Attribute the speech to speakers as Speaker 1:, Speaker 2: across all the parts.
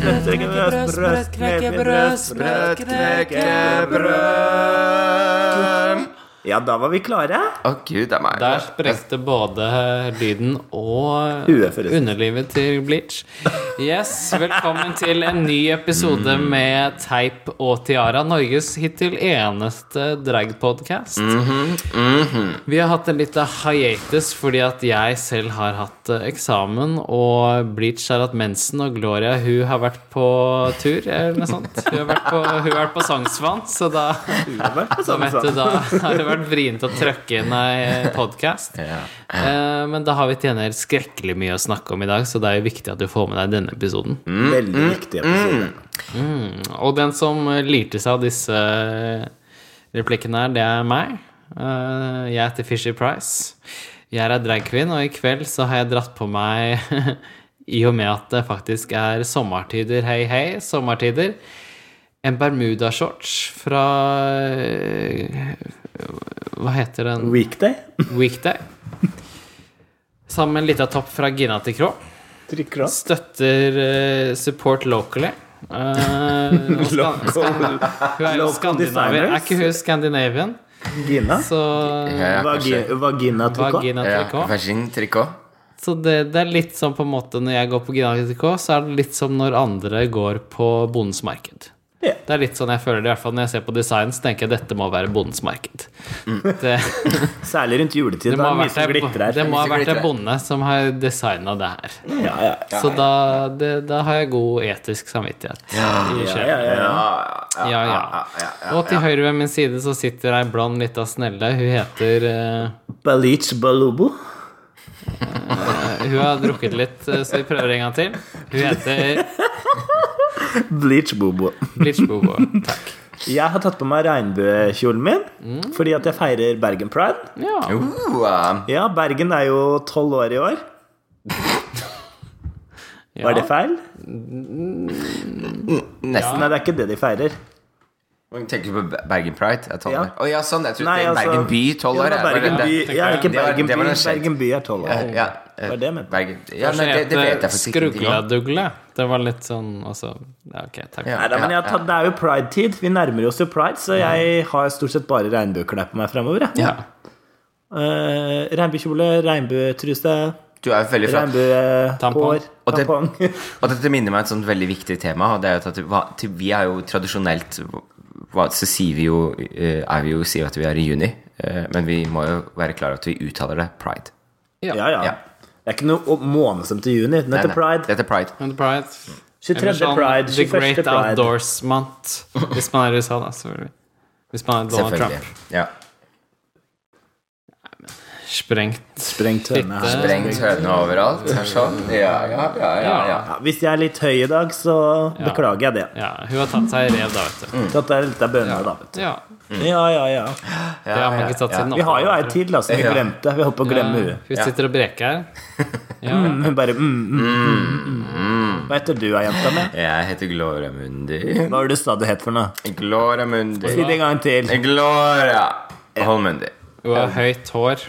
Speaker 1: knekkebrød, sprøtt knekkebrød, sprøtt knekkebrød. Ja, da var vi klare.
Speaker 2: Å, gud, det er meg.
Speaker 3: Der sprekte både lyden og
Speaker 1: Huet, forresten.
Speaker 3: underlivet til Bleach. Yes, velkommen til en ny episode med Teip og Tiara, Norges hittil eneste dragpodcast. Vi har hatt en liten hiatus fordi at jeg selv har hatt eh, eksamen, og Bleach har hatt mensen, og Gloria hun har vært på tur, eller noe sånt. Hun har vært på, hun har vært på sangsvann, så da
Speaker 1: Det var på
Speaker 3: så
Speaker 1: samme
Speaker 3: vet
Speaker 1: sak.
Speaker 3: du, da har det vært vrient å trøkke inn ei podkast. Men da har vi til gjengjeld skrekkelig mye å snakke om i dag, så det er jo viktig at du får med deg denne episoden.
Speaker 1: Mm,
Speaker 3: Mm,
Speaker 1: Veldig viktig episode.
Speaker 3: Og den som lirte seg av disse eh, replikkene her, det er meg. Eh, Jeg heter Fisher Price. Jeg er ei dragqueen, og i kveld så har jeg dratt på meg I og med at det faktisk er sommertider, hei, hei, sommertider. En bermudashorts fra eh, Hva heter den?
Speaker 1: Weekday.
Speaker 3: Weekday. Sammen med en liten topp fra Gina til Krå.
Speaker 1: Trykker opp.
Speaker 3: Støtter eh, support locally. Eh, og skan-
Speaker 1: Local-
Speaker 3: hun er jo
Speaker 1: local
Speaker 3: skandinaver. Er
Speaker 1: designers.
Speaker 3: ikke hun Scandinavian?
Speaker 1: Gina.
Speaker 3: Så
Speaker 2: Ja, ja, kanskje.
Speaker 1: Vagi- Vagina tok opp.
Speaker 3: Vagina
Speaker 2: Ja,
Speaker 3: trikot.
Speaker 2: Vagin trikot.
Speaker 3: Så det, det er litt sånn på en måte når jeg går på Gina trikot, så er det litt som når andre går på bondens marked.
Speaker 1: Ja.
Speaker 3: Det er litt sånn jeg føler det, i hvert fall når jeg ser på design, så tenker jeg dette må være bondens marked. Det,
Speaker 1: Særlig rundt juletid.
Speaker 3: det
Speaker 1: Da
Speaker 3: må
Speaker 1: er det mye
Speaker 3: ha vært
Speaker 1: som glitrer
Speaker 3: ei- det
Speaker 1: her.
Speaker 3: må ha vært
Speaker 2: Glitrer.
Speaker 3: en bonde som har designa det her.
Speaker 1: Ja, ja.
Speaker 3: Så da, det, da har jeg god etisk samvittighet. i
Speaker 1: Ja,
Speaker 3: sjelen.
Speaker 1: ja, ja, ja.
Speaker 3: ja, ja, Og til høyre ved min side så sitter ei blond lita snelle. Hun heter eh,
Speaker 1: Balich Balubo.
Speaker 3: Hun har drukket litt, eh, så vi prøver en gang til. Hun heter
Speaker 1: Bleach Bobo.
Speaker 3: Bleach Bobo. Takk.
Speaker 1: Jeg har tatt på meg regnbuekjolen min
Speaker 3: Mm.
Speaker 1: fordi at jeg feirer Bergen Pride.
Speaker 3: Ja.
Speaker 2: Uh, uh,
Speaker 1: Ja, Bergen er jo tolv år i år. Var det
Speaker 3: ja.
Speaker 1: feil?
Speaker 2: nesten.
Speaker 1: Nei, det er ikke det de feirer.
Speaker 2: Jeg Tenker på Bergen Pride? Jeg tolv
Speaker 1: Ja.
Speaker 2: år. Å ja, sånn. Jeg trodde
Speaker 1: Nei, altså-
Speaker 2: Bergen by tolv år.
Speaker 1: Ja,
Speaker 2: jeg.
Speaker 1: det var Bergen
Speaker 2: Det-
Speaker 1: by.
Speaker 3: tenker
Speaker 1: Ja,
Speaker 3: jeg.
Speaker 1: ikke
Speaker 2: Det var-
Speaker 1: Bergen
Speaker 2: det var
Speaker 1: by.
Speaker 2: noe skjedd.
Speaker 1: Bergen by er tolv år.
Speaker 2: Ja, eh,
Speaker 1: Var det jeg mente?
Speaker 2: Bergen. Ja,
Speaker 3: Kanskje
Speaker 2: nei, det, det vet jeg
Speaker 3: heter
Speaker 2: faktisk ingenting om.
Speaker 3: Skrugladugle. Det var litt sånn altså ja, Ok, takk.
Speaker 2: Ja.
Speaker 1: Nei, da, men jeg har tatt, Det er jo pride-tid. Vi nærmer oss jo pride, så jeg har stort sett bare regnbueklær på meg fremover. jeg.
Speaker 2: Ja.
Speaker 1: Eh, regnbuekjole, regnbuetruse,
Speaker 2: Du er jo veldig
Speaker 3: Tampong.
Speaker 2: flott.
Speaker 1: regnbuehår,
Speaker 2: Og det-
Speaker 1: tampong.
Speaker 2: Og dette minner meg om et sånt veldig viktig tema. Og det er jo at vi- hva- til- Vi er jo tradisjonelt hva, Så sier vi jo eh, er vi jo, sier at vi er i juni, eh, men vi må jo være klar over at vi uttaler det pride.
Speaker 3: Ja.
Speaker 1: Ja, ja.
Speaker 2: Ja.
Speaker 1: Det er ikke noe månedstemt til juni. Den
Speaker 2: Nei,
Speaker 1: heter
Speaker 2: nei,
Speaker 1: pride.
Speaker 2: Det heter pride.
Speaker 3: Men Pride
Speaker 1: 23.
Speaker 3: eller sånn
Speaker 1: pride,
Speaker 3: The
Speaker 1: 21.
Speaker 3: Great
Speaker 1: pride.
Speaker 3: Outdoors Month. Hvis man er i USA, da, selvfølgelig. Hvis man er Donald
Speaker 2: Selvfølgelig.
Speaker 3: Trump.
Speaker 2: Ja.
Speaker 3: Sprengt.
Speaker 1: Sprengt høne her.
Speaker 3: Fitte.
Speaker 2: Brengt høne overalt. er Sånn. Ja, ja, ja, ja, ja.
Speaker 1: Ja, hvis jeg er litt høy i dag, så
Speaker 3: Ja.
Speaker 1: beklager jeg det.
Speaker 3: Ja, hun har tatt seg i rev, da, vet
Speaker 2: Mm.
Speaker 3: du.
Speaker 1: Dette er litt av bønner, da. vet
Speaker 3: Ja,
Speaker 1: du. Ja, ja, ja.
Speaker 3: Det har man ikke tatt siden
Speaker 1: Vi har jo ei til da, som vi
Speaker 2: Ja.
Speaker 1: glemte. Vi holdt på å glemme
Speaker 3: Ja,
Speaker 1: henne.
Speaker 3: hun sitter og breker her. Ja.
Speaker 1: Hun bare mm, mm, mm, mm. Hva heter du, ei jenta mi?
Speaker 2: Jeg heter Gloria Mundi.
Speaker 1: Hva var det du sa du het for noe?
Speaker 2: Gloria Mundi.
Speaker 1: Si det en gang til.
Speaker 2: Gloria Holmundi.
Speaker 3: Hun har høyt hår.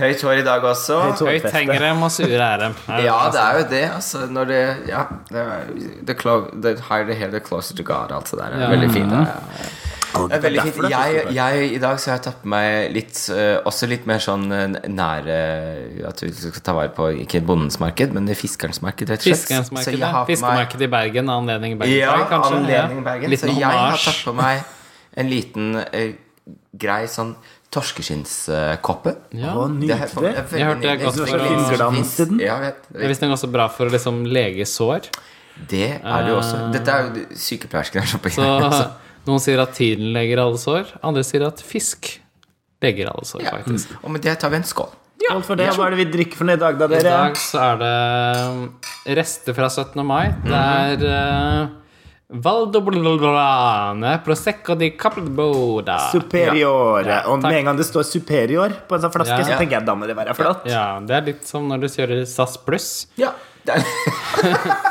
Speaker 2: Høyt hår i dag også.
Speaker 1: Høyt hår.
Speaker 3: Høyt henger dem og sure er dem. Er det
Speaker 2: Ja,
Speaker 3: sånn?
Speaker 2: det er jo det, altså. Når det Ja. Det er, the, clo the higher the hell, the closer to God. Alt det der. Det er Veldig fint. Ja, ja.
Speaker 1: Å,
Speaker 2: Det er veldig
Speaker 1: derfor
Speaker 2: fint.
Speaker 1: det er så
Speaker 2: Jeg,
Speaker 1: stort.
Speaker 2: jeg, I dag så har jeg tatt på meg litt eh, Også litt mer sånn eh, nære eh, At du skal ta vare på ikke bondens marked, men det fiskerens marked, rett og slett.
Speaker 3: Fiskerens marked,
Speaker 2: Så jeg
Speaker 3: ja.
Speaker 2: har på meg-
Speaker 3: Fiskemarkedet i Bergen, anledning i Bergen.
Speaker 2: Ja,
Speaker 3: Pride, kanskje?
Speaker 2: anledning
Speaker 3: Ja.
Speaker 2: Bergen.
Speaker 3: Liten
Speaker 2: så jeg har
Speaker 3: hommage.
Speaker 2: tatt på meg en liten eh, grei sånn torskeskinnskoppe.
Speaker 3: Ja.
Speaker 1: Å,
Speaker 2: Det er for- det er
Speaker 1: nydelig.
Speaker 2: veldig
Speaker 3: Jeg hørte jeg godt
Speaker 2: nydelig. Det er
Speaker 3: for
Speaker 2: så
Speaker 3: å-
Speaker 2: fint som
Speaker 1: Glans i den.
Speaker 2: finnes. Ja, jeg vet.
Speaker 3: Det er visstnok også bra for å liksom lege sår.
Speaker 2: Det er det jo også. Dette er jo sykepleiersken her. oppe.
Speaker 3: Eh. Så
Speaker 2: altså.
Speaker 3: noen sier at tiden leger alle sår, andre sier at fisk leger alle sår,
Speaker 2: Ja.
Speaker 3: faktisk.
Speaker 2: Og med Mm. det tar vi en skål.
Speaker 1: Skål for det. Hva er det vi drikker for noe i dag, da,
Speaker 3: I
Speaker 1: dere?
Speaker 3: dag så er det um, rester fra 17. mai. Det er uh, Valdoblane Prosecco di Capelboda.
Speaker 1: Superior.
Speaker 3: Ja. Ja,
Speaker 1: og med
Speaker 3: takk.
Speaker 1: en gang det står Superior på en sånn flaske,
Speaker 3: Ja.
Speaker 1: så tenker jeg da må det være flott.
Speaker 3: Ja, det er litt som når du kjører SAS pluss.
Speaker 2: Ja. Det, er,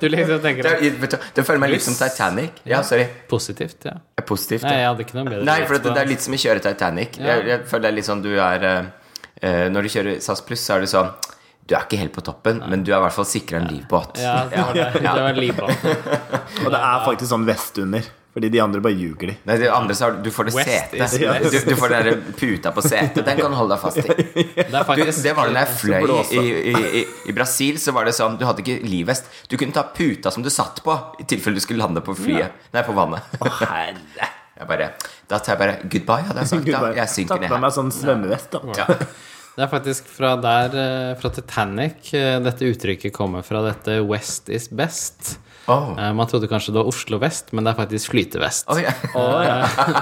Speaker 3: Du liksom tenker
Speaker 2: det,
Speaker 3: at
Speaker 2: er, vet du, det føler meg litt som Titanic. Ja, sorry.
Speaker 3: positivt, ja.
Speaker 2: Det er positivt.
Speaker 3: Nei,
Speaker 2: ja.
Speaker 3: jeg hadde ikke noe bedre.
Speaker 2: Nei, for
Speaker 3: rett
Speaker 2: det,
Speaker 3: på
Speaker 2: det er litt som å kjøre Titanic. Jeg, jeg føler det er litt sånn du er eh, eh, Når du kjører SAS Pluss, så er det sånn du Du er ikke helt på toppen, men du er i hvert fall sikra en livbåt.
Speaker 3: Ja, det var det. Det var livbåten.
Speaker 1: Og det er faktisk sånn vest under. Fordi de andre bare ljuger, de.
Speaker 2: Nei, det andre så har du- du får det
Speaker 3: West is
Speaker 2: setet.
Speaker 1: best.
Speaker 2: Du, du får den der puta på setet. Den kan du holde deg fast i.
Speaker 3: Det er
Speaker 2: Du,
Speaker 3: faktisk
Speaker 2: det var det da jeg fløy
Speaker 1: blåse.
Speaker 2: i, i, i, i Brasil. Så var det sånn, Du hadde ikke livvest. Du kunne ta puta som du satt på, i tilfelle du skulle lande på flyet. Nei, på vannet.
Speaker 1: Herre.
Speaker 2: Jeg bare, da tar jeg bare goodbye, hadde jeg sagt.
Speaker 1: Gud,
Speaker 2: Da.
Speaker 1: bare,
Speaker 2: Jeg synker
Speaker 1: tatt
Speaker 2: ned
Speaker 1: på
Speaker 2: her.
Speaker 1: meg sånn svømmevest, da.
Speaker 2: Ja.
Speaker 3: Det er faktisk fra der, eh, fra Titanic, eh, dette uttrykket kommer fra dette 'West is best'.
Speaker 2: Oh.
Speaker 3: Eh, Man trodde kanskje det var Oslo vest, men det er faktisk flytevest.
Speaker 2: Oi, ja.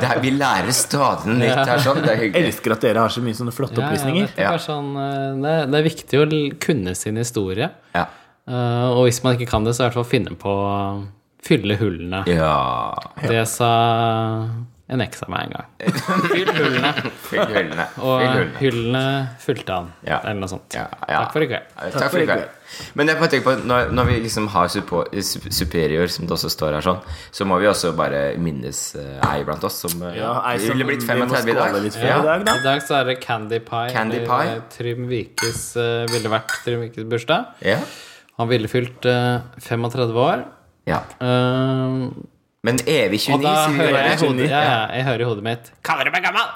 Speaker 2: det her, vi lærer stadig noe nytt her, sånn. Det er hyggelig.
Speaker 1: Elsker at dere har så mye sånne flotte
Speaker 3: Ja, ja,
Speaker 1: opplysninger.
Speaker 3: dette er sånn, eh, det, det er viktig å l- kunne sin historie.
Speaker 2: Ja.
Speaker 3: Eh, Og hvis man ikke kan det, så i hvert fall finne på å fylle hullene.
Speaker 2: ja.
Speaker 3: Det sa en eks av meg en gang. Fyll hullene.
Speaker 2: Fyll hullene.
Speaker 3: Og
Speaker 2: Fyll hullene.
Speaker 3: hullene fulgte han,
Speaker 2: Ja.
Speaker 3: eller noe sånt.
Speaker 2: Ja, ja.
Speaker 3: Takk for i kveld.
Speaker 2: Ja, Takk for i kveld. Men jeg bare tenker på når, når vi liksom har suppo- sup- superior, som det også står her, sånn, så må vi også bare minnes eh, ei blant oss som eh,
Speaker 1: Ja, ei
Speaker 2: ville
Speaker 1: som
Speaker 2: blitt
Speaker 1: vi må
Speaker 2: 35 i dag.
Speaker 1: skåle litt for
Speaker 2: Ja.
Speaker 1: i dag, da.
Speaker 3: I dag så er det Candy Pie.
Speaker 2: Candy
Speaker 3: eller,
Speaker 2: Pie.
Speaker 3: eh, Trym Vikes eh, ville vært Trym Vikes bursdag.
Speaker 2: Ja.
Speaker 3: Han ville fylt eh, 35 år.
Speaker 2: ja.
Speaker 3: Eh,
Speaker 2: Men evig
Speaker 3: og
Speaker 2: 29,
Speaker 3: da
Speaker 2: sier vi
Speaker 3: hører jeg, i
Speaker 2: bare.
Speaker 3: hodet, ja, ja, jeg hører i hodet mitt Kaller du meg gammel?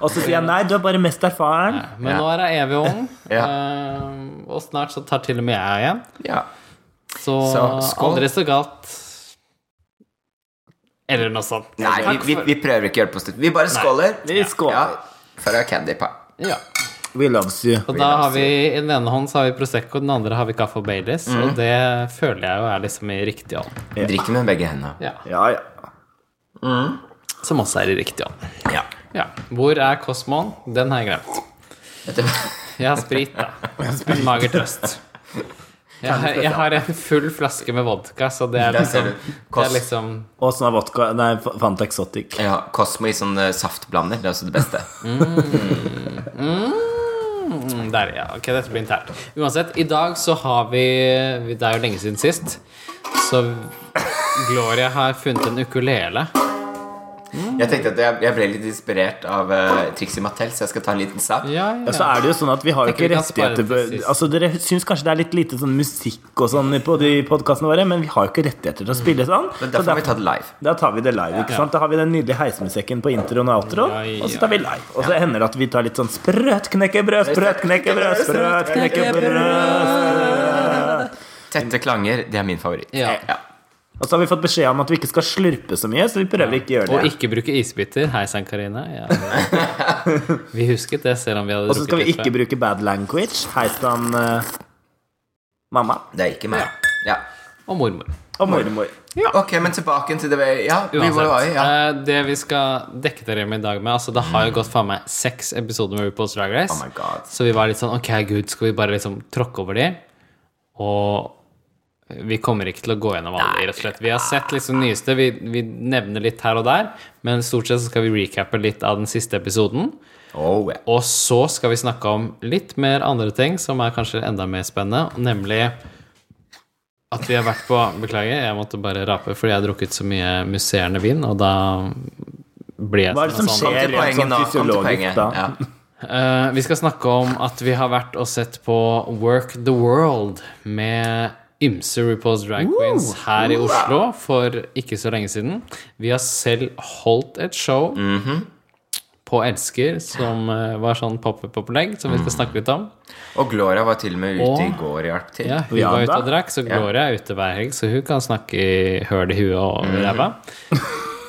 Speaker 1: Og så sier jeg nei, du er bare mest erfaren.
Speaker 3: Men
Speaker 2: Ja.
Speaker 3: nå er jeg evig ung,
Speaker 2: Ja.
Speaker 3: eh, og snart så tar til og med jeg igjen.
Speaker 2: Ja.
Speaker 3: Så,
Speaker 2: Så skål.
Speaker 3: aldri så galt. Eller noe sånt.
Speaker 2: Nei, vi, vi, vi prøver ikke å hjelpe oss til. Vi bare skåler.
Speaker 1: Vi skåler.
Speaker 2: Ja. For å ha candy pie.
Speaker 3: Ja.
Speaker 1: We loves you.
Speaker 3: Og da har vi i den ene hånden så har vi Prosecco, den andre har vi kaffe og Baileys.
Speaker 2: Mm.
Speaker 3: Og det føler jeg jo er liksom i riktig ånd.
Speaker 1: Ja.
Speaker 2: Drikker med begge hendene.
Speaker 3: Ja.
Speaker 1: Ja, ja.
Speaker 3: Som også er i riktig ånd.
Speaker 2: Ja.
Speaker 3: Ja. Hvor er Cosmoen? Den har jeg glemt. Jeg har sprit, da. En mager trøst. Jeg, har- jeg har en full flaske med vodka, så det er
Speaker 2: Der ser
Speaker 3: liksom,
Speaker 2: du.
Speaker 3: det
Speaker 2: Kos-
Speaker 3: er liksom
Speaker 1: Og sånn er vodka Nei, Fanta Exotic.
Speaker 2: ja. Cosmo i sånn eh, saftblander. Det er også det beste.
Speaker 3: mm, Der, ja. Ok, dette blir internt. Uansett, i dag så har vi Det er jo lenge siden sist, så Gloria har funnet en ukulele.
Speaker 2: Jeg tenkte at jeg, jeg ble litt inspirert av eh, Trixie Mattel, så jeg skal ta en liten sap.
Speaker 3: Ja,
Speaker 1: Ja, så
Speaker 3: ja.
Speaker 1: er det jo sånn at vi har jo
Speaker 3: Tenker
Speaker 1: ikke
Speaker 3: vi kan spare
Speaker 1: rettigheter
Speaker 3: det til sist.
Speaker 1: Altså Dere syns kanskje det er litt lite sånn musikk og sånn på de podkastene våre, men vi har jo ikke rettigheter til å spille sånn.
Speaker 2: Men
Speaker 1: Så
Speaker 2: derfor må
Speaker 1: derfor-
Speaker 2: vi ta det live.
Speaker 1: da tar vi det live. ikke sant? Da har vi den nydelige heismusikken på introen og outroen.
Speaker 3: Ja, ja.
Speaker 1: Og så tar vi live. Og så hender det at vi tar litt sånn sprøt knekkebrød, sprøt knekkebrød, sprøt knekkebrød.
Speaker 2: Tette klanger, det er min favoritt.
Speaker 3: Ja.
Speaker 1: Og så har vi fått beskjed om at vi ikke skal slurpe så mye, så vi prøver ikke å gjøre
Speaker 3: Og
Speaker 1: det.
Speaker 3: ikke bruke isbiter. Hei sann, Karine. Ja. Vi husket det, selv om vi hadde
Speaker 1: Og så skal vi
Speaker 3: litt før.
Speaker 1: ikke bruke bad language. Hei sann, eh, mamma
Speaker 2: Det er ikke meg. Ja.
Speaker 3: Og mormor.
Speaker 1: og mormor.
Speaker 2: Ok, men tilbake til det vi Ja, vi
Speaker 3: Uansett.
Speaker 2: var jo i, ja. Mm.
Speaker 3: eh, Det vi skal dekke dere med i dag med Altså, det har jo gått faen meg seks episoder med RuPaul's Drag Race.
Speaker 2: Oh my god.
Speaker 3: så vi var litt sånn Ok, gud, skal vi bare liksom tråkke over de? Og vi kommer ikke til å gå gjennom alle de, rett og slett. Vi har sett liksom nyeste. Vi, vi nevner litt her og der, men stort sett så skal vi recappe litt av den siste episoden.
Speaker 2: Oh, ja.
Speaker 3: Og så skal vi snakke om litt mer andre ting som er kanskje enda mer spennende, nemlig at vi har vært på Beklager, jeg måtte bare rape fordi jeg har drukket så mye musserende vin, og da blir jeg
Speaker 1: Hva er det
Speaker 3: som
Speaker 1: som
Speaker 3: en sånn.
Speaker 2: Kom
Speaker 1: skjer
Speaker 2: til
Speaker 1: rent
Speaker 2: poenget
Speaker 1: sånn
Speaker 2: nå. Kom til
Speaker 1: fysiologisk
Speaker 2: poenget.
Speaker 1: da?
Speaker 2: Ja.
Speaker 3: Eh, vi skal snakke om at vi har vært og sett på Work the World med ymse RuPaul's Drag Queens her i Oslo for ikke så lenge siden. Vi har selv holdt et show
Speaker 1: Mhm.
Speaker 3: på Elsker, som eh, var sånn pop-up-opplegg, som vi skal
Speaker 1: Mm.
Speaker 3: snakke litt om.
Speaker 2: Og Gloria var til og med ute i
Speaker 3: Og-
Speaker 2: går og hjalp til.
Speaker 3: Ja, hun
Speaker 1: Ja
Speaker 3: var
Speaker 1: da.
Speaker 3: ute og drakk, så Gloria er ute hver helg, så hun kan snakke i høl i huet og over ræva.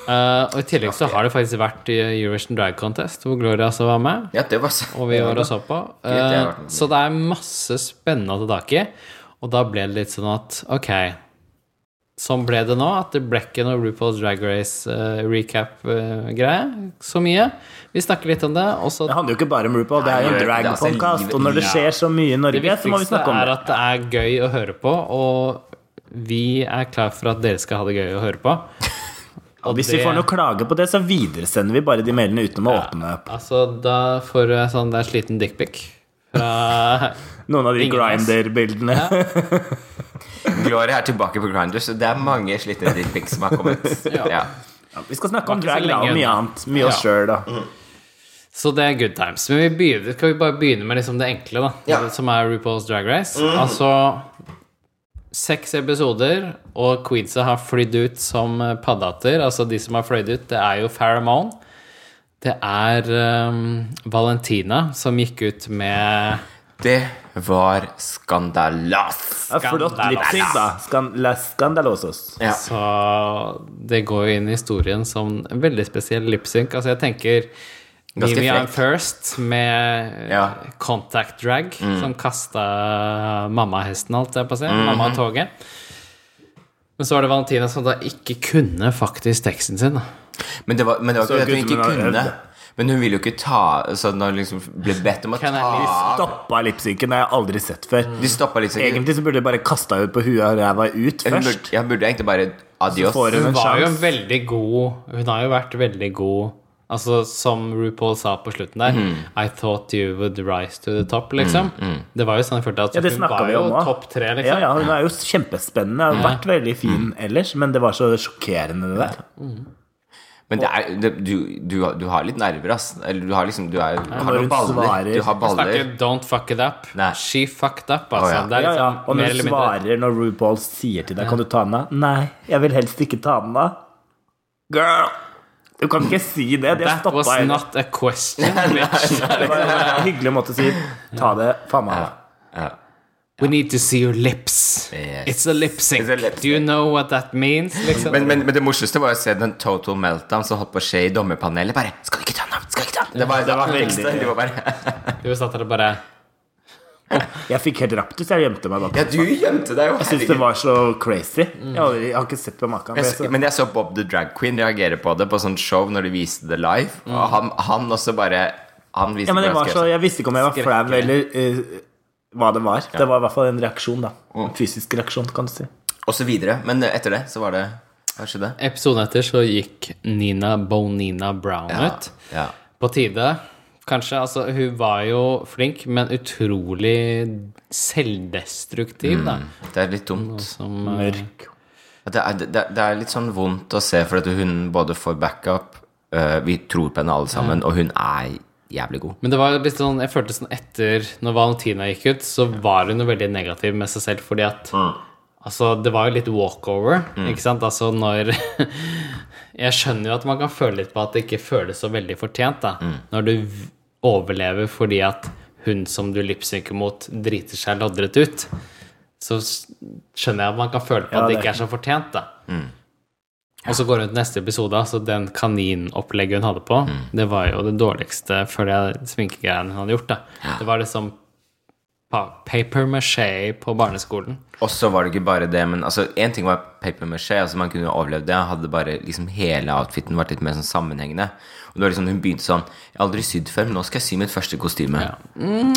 Speaker 3: Eh, og i tillegg så har det faktisk vært i Eurovision Drag Contest, hvor Gloria også var med.
Speaker 2: Ja, det var så
Speaker 3: Og vi var og så på. Eh,
Speaker 2: Gud, det har vært mye.
Speaker 3: så det er masse spennende å ta tak i. Og da ble det litt sånn at ok Sånn ble det nå, at det ble ikke noe RuPaul's Drag eh, Race-recap-greie eh, så mye. Vi snakker litt om det, og så
Speaker 1: Det handler jo ikke bare om RuPaul, det er jo en
Speaker 2: Nei, det er- det er altså
Speaker 1: drag-podcast.
Speaker 2: livet-
Speaker 1: Og når det
Speaker 2: ja.
Speaker 1: skjer så mye i
Speaker 3: Det
Speaker 1: Norge, så må vi
Speaker 3: viktigste
Speaker 1: snakke om
Speaker 3: er
Speaker 1: det.
Speaker 3: at det er gøy å høre på, og vi er klar for at dere skal ha det gøy å høre på.
Speaker 1: Og hvis vi
Speaker 3: det-
Speaker 1: får noe klage på det, så videresender vi bare de mailene uten å åpne opp.
Speaker 3: Altså, da får jeg sånn der sliten dickpic fra
Speaker 1: Noen av de
Speaker 3: Ingen av oss.
Speaker 1: Grinder-bildene.
Speaker 2: Gloria er tilbake på Grindr, så det er mange slitne dickpics som har kommet. Ja.
Speaker 1: Vi skal snakke om
Speaker 3: Var ikke
Speaker 1: drag
Speaker 3: så
Speaker 1: da,
Speaker 3: lenge
Speaker 1: og mye
Speaker 3: unna.
Speaker 1: annet. Mye oss
Speaker 3: Ja. Mm.
Speaker 1: sjøl, da.
Speaker 3: Så det er good times. Men vi begynner, skal vi bare begynne med liksom det enkle, da.
Speaker 2: Ja.
Speaker 3: Det Som er RuPaul's Drag Race. Altså seks episoder, og queensa har flydd ut som eh, paddehatter. Altså de som har fløyd ut, det er jo Pharamone. Det er eh, Valentina som gikk ut med
Speaker 2: Det var skandalas.
Speaker 1: Ja, flott
Speaker 3: Skandalos.
Speaker 1: lipsync, da. Skan la scandalosos.
Speaker 2: Ja.
Speaker 3: Så det går jo inn i historien som en veldig spesiell lipsync. Altså, jeg tenker
Speaker 2: Ganske
Speaker 3: Mimi I'm
Speaker 2: frekk.
Speaker 3: First med
Speaker 2: Ja. Mm.
Speaker 3: Contact Drag, som kasta mammahesten, holdt jeg på å si.
Speaker 2: Mm-hmm.
Speaker 3: Mammatoget. Men så var det Valentina som da ikke kunne faktisk teksten sin. da.
Speaker 2: Men det var, men det var
Speaker 1: Så
Speaker 2: ikke det at hun
Speaker 1: gutten
Speaker 2: ikke
Speaker 1: min har øvd
Speaker 2: kunne.
Speaker 1: det.
Speaker 2: Men hun ville jo ikke ta Så når hun liksom ble bedt om å
Speaker 3: Can I
Speaker 2: ta
Speaker 1: Stoppa lipsyncen, det har jeg aldri sett før.
Speaker 3: Mm.
Speaker 2: De stoppa liksom ikke.
Speaker 1: Egentlig så burde jeg bare kasta ut på huet og ræva ut
Speaker 2: Hun
Speaker 1: først.
Speaker 2: burde, jeg burde egentlig bare adios.
Speaker 1: får hun-
Speaker 3: Hun
Speaker 1: en
Speaker 3: var jo
Speaker 1: sjans.
Speaker 3: veldig god Hun har jo vært veldig god Altså, som RuPaul sa på slutten der
Speaker 2: Mm-hmm.
Speaker 3: I thought you would rise to the top, liksom. Det var jo sånn jeg følte at
Speaker 1: Ja, det
Speaker 3: hun
Speaker 1: snakka
Speaker 3: var
Speaker 1: vi
Speaker 3: jo
Speaker 1: om også.
Speaker 3: topp tre, liksom.
Speaker 1: Ja, ja, hun er jo kjempespennende. Har vært veldig fin
Speaker 3: Mm.
Speaker 1: ellers, men det var så sjokkerende, det der.
Speaker 2: Men det er, det, du, du, du har litt nerver, ass. Eller du har liksom Du er, har
Speaker 1: når
Speaker 2: noen
Speaker 1: hun
Speaker 2: baller.
Speaker 1: svarer.
Speaker 2: Du har baller.
Speaker 3: Snakker 'don't fuck it up'.
Speaker 2: Nei.
Speaker 3: She fucked up, altså.
Speaker 2: Å, ja.
Speaker 3: Det er
Speaker 1: Ja, ja.
Speaker 3: liksom
Speaker 1: Og
Speaker 3: mer
Speaker 1: når
Speaker 3: eller
Speaker 1: hun
Speaker 3: mindre
Speaker 1: svarer når RuPaul sier til deg 'Kan du ta den av?' Nei, jeg vil helst ikke ta den av. Girl! Du kan ikke si det. De har
Speaker 3: That was
Speaker 1: stoppa henne.
Speaker 3: not a question, bitch.
Speaker 1: Det var en hyggelig måte å si 'ta det faen meg av'.
Speaker 3: We need to see your lips.
Speaker 2: Yes.
Speaker 3: It's a lip sync.
Speaker 2: It's a lip
Speaker 3: Do you know what that means? Liksom.
Speaker 2: Men, men, men det morsomste var å se den total meltdown som holdt på å skje i dommerpanelet. Bare 'Skal du ikke ta den av? Skal du ikke ta den av?' Det var, det var,
Speaker 1: veldig-
Speaker 2: ekstra, det var bare
Speaker 3: Du satt der og bare
Speaker 1: Jeg fikk helt raptus. Jeg gjemte meg bak.
Speaker 2: Ja, du gjemte deg jo.
Speaker 1: Jeg syns det var så crazy. Jeg har, jeg har ikke sett på maken.
Speaker 2: Jeg
Speaker 1: men jeg
Speaker 2: så-
Speaker 1: så-
Speaker 2: Men jeg så Bob the Drag Queen reagere på det på sånn show når de viste det live. Og han, han også bare Han
Speaker 1: Mm.
Speaker 2: viste
Speaker 1: Ja, men det var
Speaker 2: hvordan
Speaker 1: så,
Speaker 2: skal
Speaker 1: jeg
Speaker 2: jeg-
Speaker 1: visste ikke om jeg var flau
Speaker 2: Skrekkelig.
Speaker 1: eller eh, hva det var. Det var i hvert fall en reaksjon, da.
Speaker 3: Mm.
Speaker 1: En fysisk reaksjon, kan du si.
Speaker 2: Og så videre. Men etter det så var det Hva skjedde?
Speaker 3: Episoden etter så gikk Nina Bonina Brown ut.
Speaker 2: Ja.
Speaker 3: På tide, kanskje. Altså, hun var jo flink, men utrolig
Speaker 2: Mm.
Speaker 3: selvdestruktiv, da.
Speaker 2: Det er litt
Speaker 1: Mm.
Speaker 2: dumt.
Speaker 3: Som eh,
Speaker 1: Mørk.
Speaker 2: Det er, det, det er litt sånn vondt å se, for at hun både får backup øh, Vi tror på henne alle sammen, og hun er jævlig god.
Speaker 3: Men det var litt sånn, jeg følte sånn etter Når Valentina gikk ut, så var hun jo veldig negativ med seg selv, fordi at Altså, det var jo litt walkover, ikke sant? Altså, når Jeg skjønner jo at man kan føle litt på at det ikke føles så veldig fortjent, da. Når du v- overlever fordi at hun som du lipsynker mot, driter seg loddrett ut. Så s- skjønner jeg at man kan føle på
Speaker 1: Ja,
Speaker 3: at det
Speaker 1: det-
Speaker 3: ikke er Mm. så fortjent, da. Og så går hun til neste episode, altså den kaninopplegget hun hadde på, det var jo det dårligste før jeg sminkegreiene hun hadde gjort, da. Det var liksom pa- paper maché på barneskolen.
Speaker 2: Og så var det ikke bare det, men altså, en ting var paper maché, altså man kunne jo overlevd det, hadde bare liksom hele outfiten vært litt mer sånn sammenhengende. Og det var liksom, hun begynte sånn, jeg har aldri sydd før, men nå skal jeg sy mitt første kostyme.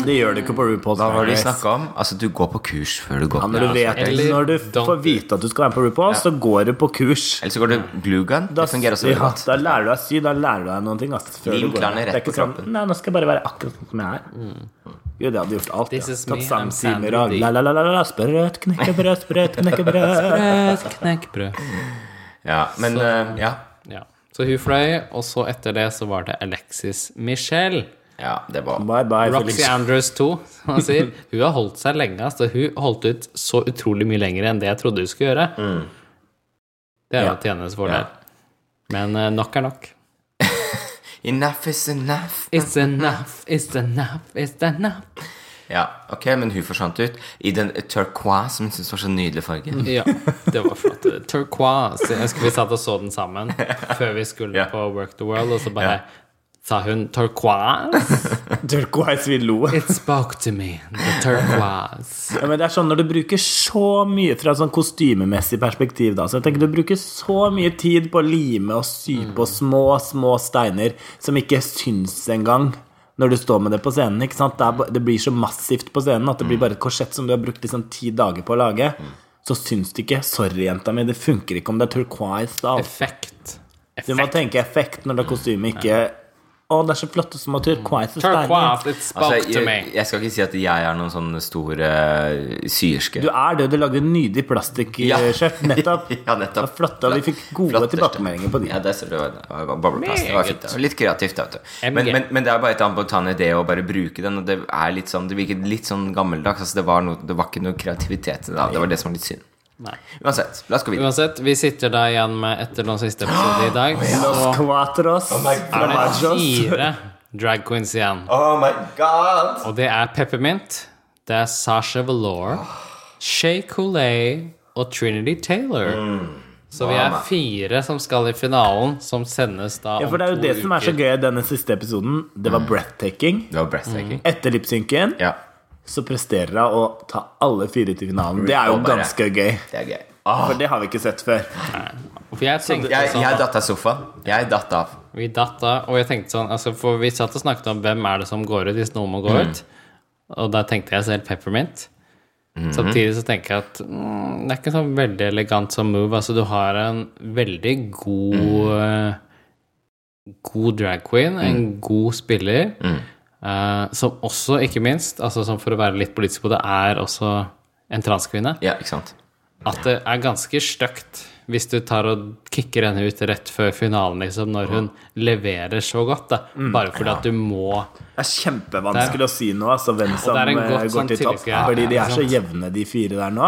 Speaker 1: Det gjør det ikke på RuPaul's
Speaker 2: Hva var
Speaker 1: Drag
Speaker 2: det de
Speaker 1: Race.
Speaker 2: snakket om? Altså, du går på kurs før du går
Speaker 1: Ja,
Speaker 2: på
Speaker 1: når, du vet,
Speaker 3: eller
Speaker 1: når du
Speaker 3: don't
Speaker 1: får vite at du skal være med på RuPaul, så går du på kurs.
Speaker 2: Ellers så går du glue gun,
Speaker 1: Da,
Speaker 2: det fungerer også veldig
Speaker 1: ja,
Speaker 2: godt.
Speaker 1: da lærer du deg sy, da lærer du deg noen ting. ass, før
Speaker 2: Lim
Speaker 1: du går.
Speaker 2: klærne rett
Speaker 1: Det er ikke
Speaker 2: på
Speaker 1: sånn,
Speaker 2: kroppen.
Speaker 1: Nei, nå skal jeg bare være akkurat sånn som jeg er. Gud, jeg hadde gjort alt.
Speaker 3: This
Speaker 1: ja.
Speaker 3: is me,
Speaker 1: Tatt
Speaker 3: I'm
Speaker 1: sammen simer
Speaker 3: Sandra
Speaker 1: og
Speaker 3: Dee.
Speaker 1: la, la, la, la, la, sprøt, knekkebrød, sprøt, knekkebrød.
Speaker 3: Knekkebrød.
Speaker 2: Ja, men,
Speaker 3: Så-
Speaker 2: eh, ja.
Speaker 3: Ja. Så hun fløy, og så etter det så var det Alexis Michelle.
Speaker 2: Ja, det var...
Speaker 1: Bye, bye,
Speaker 3: Roxy
Speaker 1: Felix.
Speaker 3: Andrews 2, som han sier. Hun har holdt seg lenge. Altså, hun holdt ut så utrolig mye lenger enn det jeg trodde hun skulle gjøre. Mm. Det er jo
Speaker 2: Ja.
Speaker 3: til hennes fordel.
Speaker 2: Ja.
Speaker 3: Men eh, nok er nok.
Speaker 2: Enough is enough.
Speaker 3: It's enough, it's enough, it's enough.
Speaker 2: Ja, ok, men hun forsvant ut i den turquoise, som jeg synes var så nydelig farge.
Speaker 1: Mm.
Speaker 3: Ja, det var flott. Turquoise. Jeg husker vi satt og så den sammen før vi skulle
Speaker 2: Ja.
Speaker 3: på Work the World, og så bare sa hun 'turquoise'.
Speaker 1: Turquoise, vi lo.
Speaker 3: It spoke to me, the turquoise.
Speaker 1: Ja, men det er sånn når du bruker så mye fra sånn kostymemessig perspektiv, da. Så jeg tenker du bruker så mye tid på å lime og sy på små, små steiner som ikke syns engang når du står med det på scenen. ikke sant? Det, er, ba- det blir så massivt på scenen at det blir bare et korsett som du har brukt liksom ti dager på å lage. Så syns det ikke. Sorry, jenta mi, det funker ikke om det er turquoise. da.
Speaker 3: Effekt.
Speaker 1: Du må tenke effekt når det er kostyme, ikke Å, det er så flotte små turquoise steiner.
Speaker 3: Turquoise, it spoke
Speaker 2: Altså,
Speaker 3: to
Speaker 2: jeg,
Speaker 3: me.
Speaker 2: jeg skal ikke si at jeg er noen sånn stor eh, syerske.
Speaker 1: Du er det. Du lagde en nydelig
Speaker 2: Ja.
Speaker 1: plastikkskjørt nettopp.
Speaker 2: Ja, nettopp.
Speaker 1: Det var flott, og vi fikk gode
Speaker 2: Flotteste.
Speaker 1: tilbakemeldinger på de.
Speaker 2: Ja, det ser du. Det var bobleplast. Det var fint. Det var litt kreativt. da, Vet du. Men,
Speaker 3: MG.
Speaker 2: men, men det er bare et anbetane idé å bare bruke den, og det er litt sånn Det virket litt sånn gammeldags. Altså, det, var noe, det var ikke noe kreativitet i det. da. Det var det som var litt synd.
Speaker 3: Nei.
Speaker 2: Uansett, la oss gå videre.
Speaker 3: Uansett, vi sitter da igjen med etter den siste episode i
Speaker 2: Oh,
Speaker 3: dag.
Speaker 1: Los
Speaker 3: Så Oh
Speaker 1: Cuatros.
Speaker 3: er det
Speaker 1: Flamachos.
Speaker 3: fire drag queens igjen.
Speaker 2: Oh my god!
Speaker 3: Og det er Peppermint, det er Sasha Valor, Shay Coulee og Trinity Taylor. Så vi er
Speaker 2: Mm. Wow.
Speaker 3: fire som skal i finalen, som sendes da om
Speaker 1: Ja, for det er jo
Speaker 3: to
Speaker 1: det som er så
Speaker 3: uker.
Speaker 1: gøy i denne siste episoden. Det var breathtaking.
Speaker 2: Det var breathtaking.
Speaker 1: Etter lipsynken
Speaker 2: Mm. Ja,
Speaker 1: så presterer hun å ta alle fire til finalen. Det er jo
Speaker 2: Og bare-
Speaker 1: ganske gøy.
Speaker 2: det er gøy. Åh,
Speaker 1: For det har vi ikke sett før.
Speaker 3: For jeg tenkte
Speaker 2: jeg,
Speaker 3: sånn
Speaker 2: jeg datt av sofaen. Jeg datt av.
Speaker 3: Vi datt av, og jeg tenkte sånn altså, For vi satt og snakket om hvem er det som går ut hvis noen må gå ut. Og da tenkte jeg selv Peppermint. Samtidig så tenker jeg at mm, det er ikke sånn veldig elegant som move. Altså, du har en veldig god eh, God drag queen, en god spiller, eh, som også, ikke minst, altså som for å være litt politisk på det, er også en transkvinne.
Speaker 2: Ja, ikke sant?
Speaker 3: At det er ganske støkt hvis du tar og kicker henne ut rett før finalen, liksom, når hun leverer så godt, da.
Speaker 1: Mm.
Speaker 3: Bare fordi at du må
Speaker 1: Det er kjempevanskelig å si noe, altså hvem som
Speaker 3: det er en
Speaker 1: eh,
Speaker 3: godt
Speaker 1: går
Speaker 3: sånn
Speaker 1: til topp.
Speaker 3: tillitsgreie.
Speaker 1: Fordi de
Speaker 3: Ja,
Speaker 1: er
Speaker 3: ikke
Speaker 1: så
Speaker 3: sant?
Speaker 1: jevne, de fire der nå.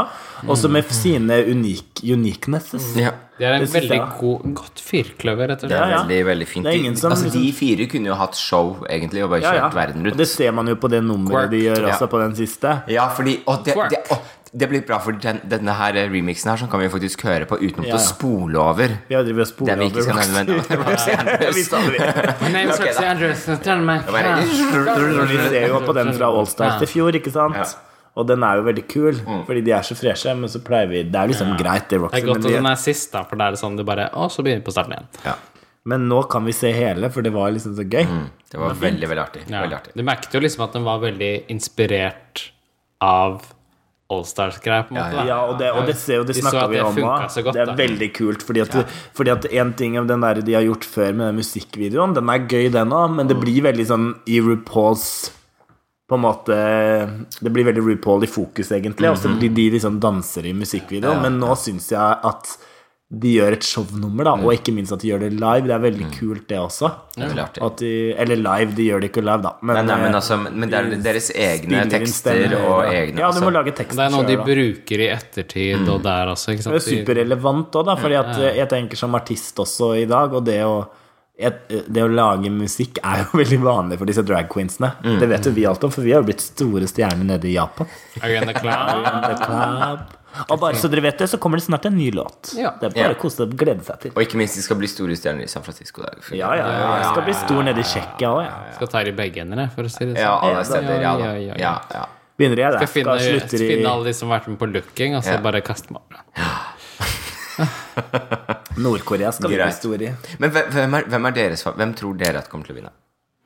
Speaker 1: Også
Speaker 2: Mm.
Speaker 1: med sine unik uniquenesses.
Speaker 2: Ja.
Speaker 3: Det er en
Speaker 1: Det synes
Speaker 3: veldig
Speaker 1: jeg da.
Speaker 3: god, godt firkløver, rett og slett.
Speaker 2: Det
Speaker 1: Ja,
Speaker 2: er
Speaker 1: ja.
Speaker 2: veldig, veldig fint.
Speaker 1: Det er ingen som
Speaker 2: altså, De
Speaker 1: liksom-
Speaker 2: fire kunne jo hatt show, egentlig, og bare
Speaker 1: Ja,
Speaker 2: kjørt
Speaker 1: ja.
Speaker 2: verden
Speaker 1: Og
Speaker 2: rundt.
Speaker 1: det ser man jo på det nummeret de
Speaker 2: Quirk,
Speaker 1: gjør
Speaker 2: ja.
Speaker 1: også på den siste.
Speaker 2: Ja, fordi å, det,
Speaker 3: Quirk.
Speaker 2: det, å, det blir bra, for den, denne her remixen her Så kan vi faktisk høre på uten
Speaker 1: Ja, ja.
Speaker 2: å spole over.
Speaker 1: Vi har drevet og
Speaker 2: Det vi
Speaker 1: sporet
Speaker 2: ikke skal
Speaker 1: over
Speaker 2: nevne. men- Roxy
Speaker 1: Jeg
Speaker 2: Andrews.
Speaker 1: visste aldri.
Speaker 3: My name is
Speaker 2: Ok,
Speaker 3: Roxy
Speaker 2: da.
Speaker 3: Andrews, and tell me-
Speaker 2: Bare-
Speaker 1: Vi ser jo på den fra Allstars til fjor, ikke
Speaker 2: Ja. Mm.
Speaker 1: sant? Og den er jo veldig kul, fordi de er så freshe. Men så pleier vi Det er liksom greit, det
Speaker 3: Det
Speaker 1: Roxy,
Speaker 3: er godt
Speaker 1: men,
Speaker 3: at den
Speaker 1: vi,
Speaker 3: er sist, da, for da er det sånn du bare Å, så begynner vi på starten igjen.
Speaker 2: Ja,
Speaker 1: men nå kan vi se hele, for det var liksom så gøy.
Speaker 2: det var veldig, veldig artig. Veldig
Speaker 3: Ja.
Speaker 2: artig.
Speaker 3: Du merket jo liksom at den var veldig inspirert av Allstars-greier, på en måte. da.
Speaker 1: Ja, og det, og det ser jo, det
Speaker 3: Vi så
Speaker 1: snakka
Speaker 3: at
Speaker 1: vi
Speaker 3: det
Speaker 1: om
Speaker 3: funka
Speaker 1: også.
Speaker 3: så godt,
Speaker 1: Det er
Speaker 3: da.
Speaker 1: veldig kult. Fordi at, fordi at en ting om den der de har gjort før med den musikkvideoen, den er gøy, den òg, men det
Speaker 3: Mm.
Speaker 1: blir veldig sånn i RuPaul's på en måte Det blir veldig RuPaul i fokus, egentlig. Og så
Speaker 3: Mm-hmm.
Speaker 1: blir de liksom danser i musikkvideoen. Men nå syns jeg at de gjør et shownummer,
Speaker 3: Mm.
Speaker 1: da, og ikke minst at de gjør det live. Det er veldig kult, det også.
Speaker 2: Det er veldig artig.
Speaker 1: At de, eller live, de gjør det ikke live, da. Men,
Speaker 2: Nei, nei, men,
Speaker 1: eh,
Speaker 2: altså, men det er deres egne
Speaker 1: spiller inn
Speaker 2: tekster
Speaker 1: stemmer,
Speaker 2: og
Speaker 1: da.
Speaker 2: egne
Speaker 1: Ja, du må
Speaker 2: altså.
Speaker 1: lage tekster
Speaker 3: Og det er noe de
Speaker 1: selv, da.
Speaker 3: bruker i ettertid og
Speaker 2: Mm.
Speaker 3: der også, ikke
Speaker 1: Det
Speaker 3: sant?
Speaker 1: er superrelevant òg, da, fordi at eh, jeg tenker som artist også i dag, og det å et- eh, det å lage musikk er jo veldig vanlig for disse drag queensene. Det vet jo vi alt om, for vi har jo blitt store stjerner nede i Japan.
Speaker 3: Are you in the clown?
Speaker 1: The Club. Og bare så dere vet det, så kommer det snart en ny låt.
Speaker 3: Ja.
Speaker 1: Det er bare
Speaker 2: Ja.
Speaker 1: å kose og glede seg til.
Speaker 2: Og ikke minst, de skal bli store stjerner i San Francisco. Der.
Speaker 1: Ja, ja, ja. Jeg skal bli stor nede i Tsjekkia òg, jeg.
Speaker 3: Skal ta det i begge ender, for å si det sånn.
Speaker 2: Liksom. Ja, alle steder. Ja,
Speaker 3: Ja,
Speaker 2: da.
Speaker 3: ja, ja.
Speaker 2: ja, ja.
Speaker 1: Begynner jeg der.
Speaker 3: Skal finne,
Speaker 1: Skal slutter i
Speaker 3: finne alle de som har vært med på looking, og så
Speaker 2: Ja.
Speaker 3: bare kaste meg over det.
Speaker 1: Nord-Korea. skal vi bli
Speaker 2: Greit.
Speaker 1: stor i.
Speaker 2: Men hvem- hvem er, hvem er deres fa- Hvem tror dere at kommer til å vinne?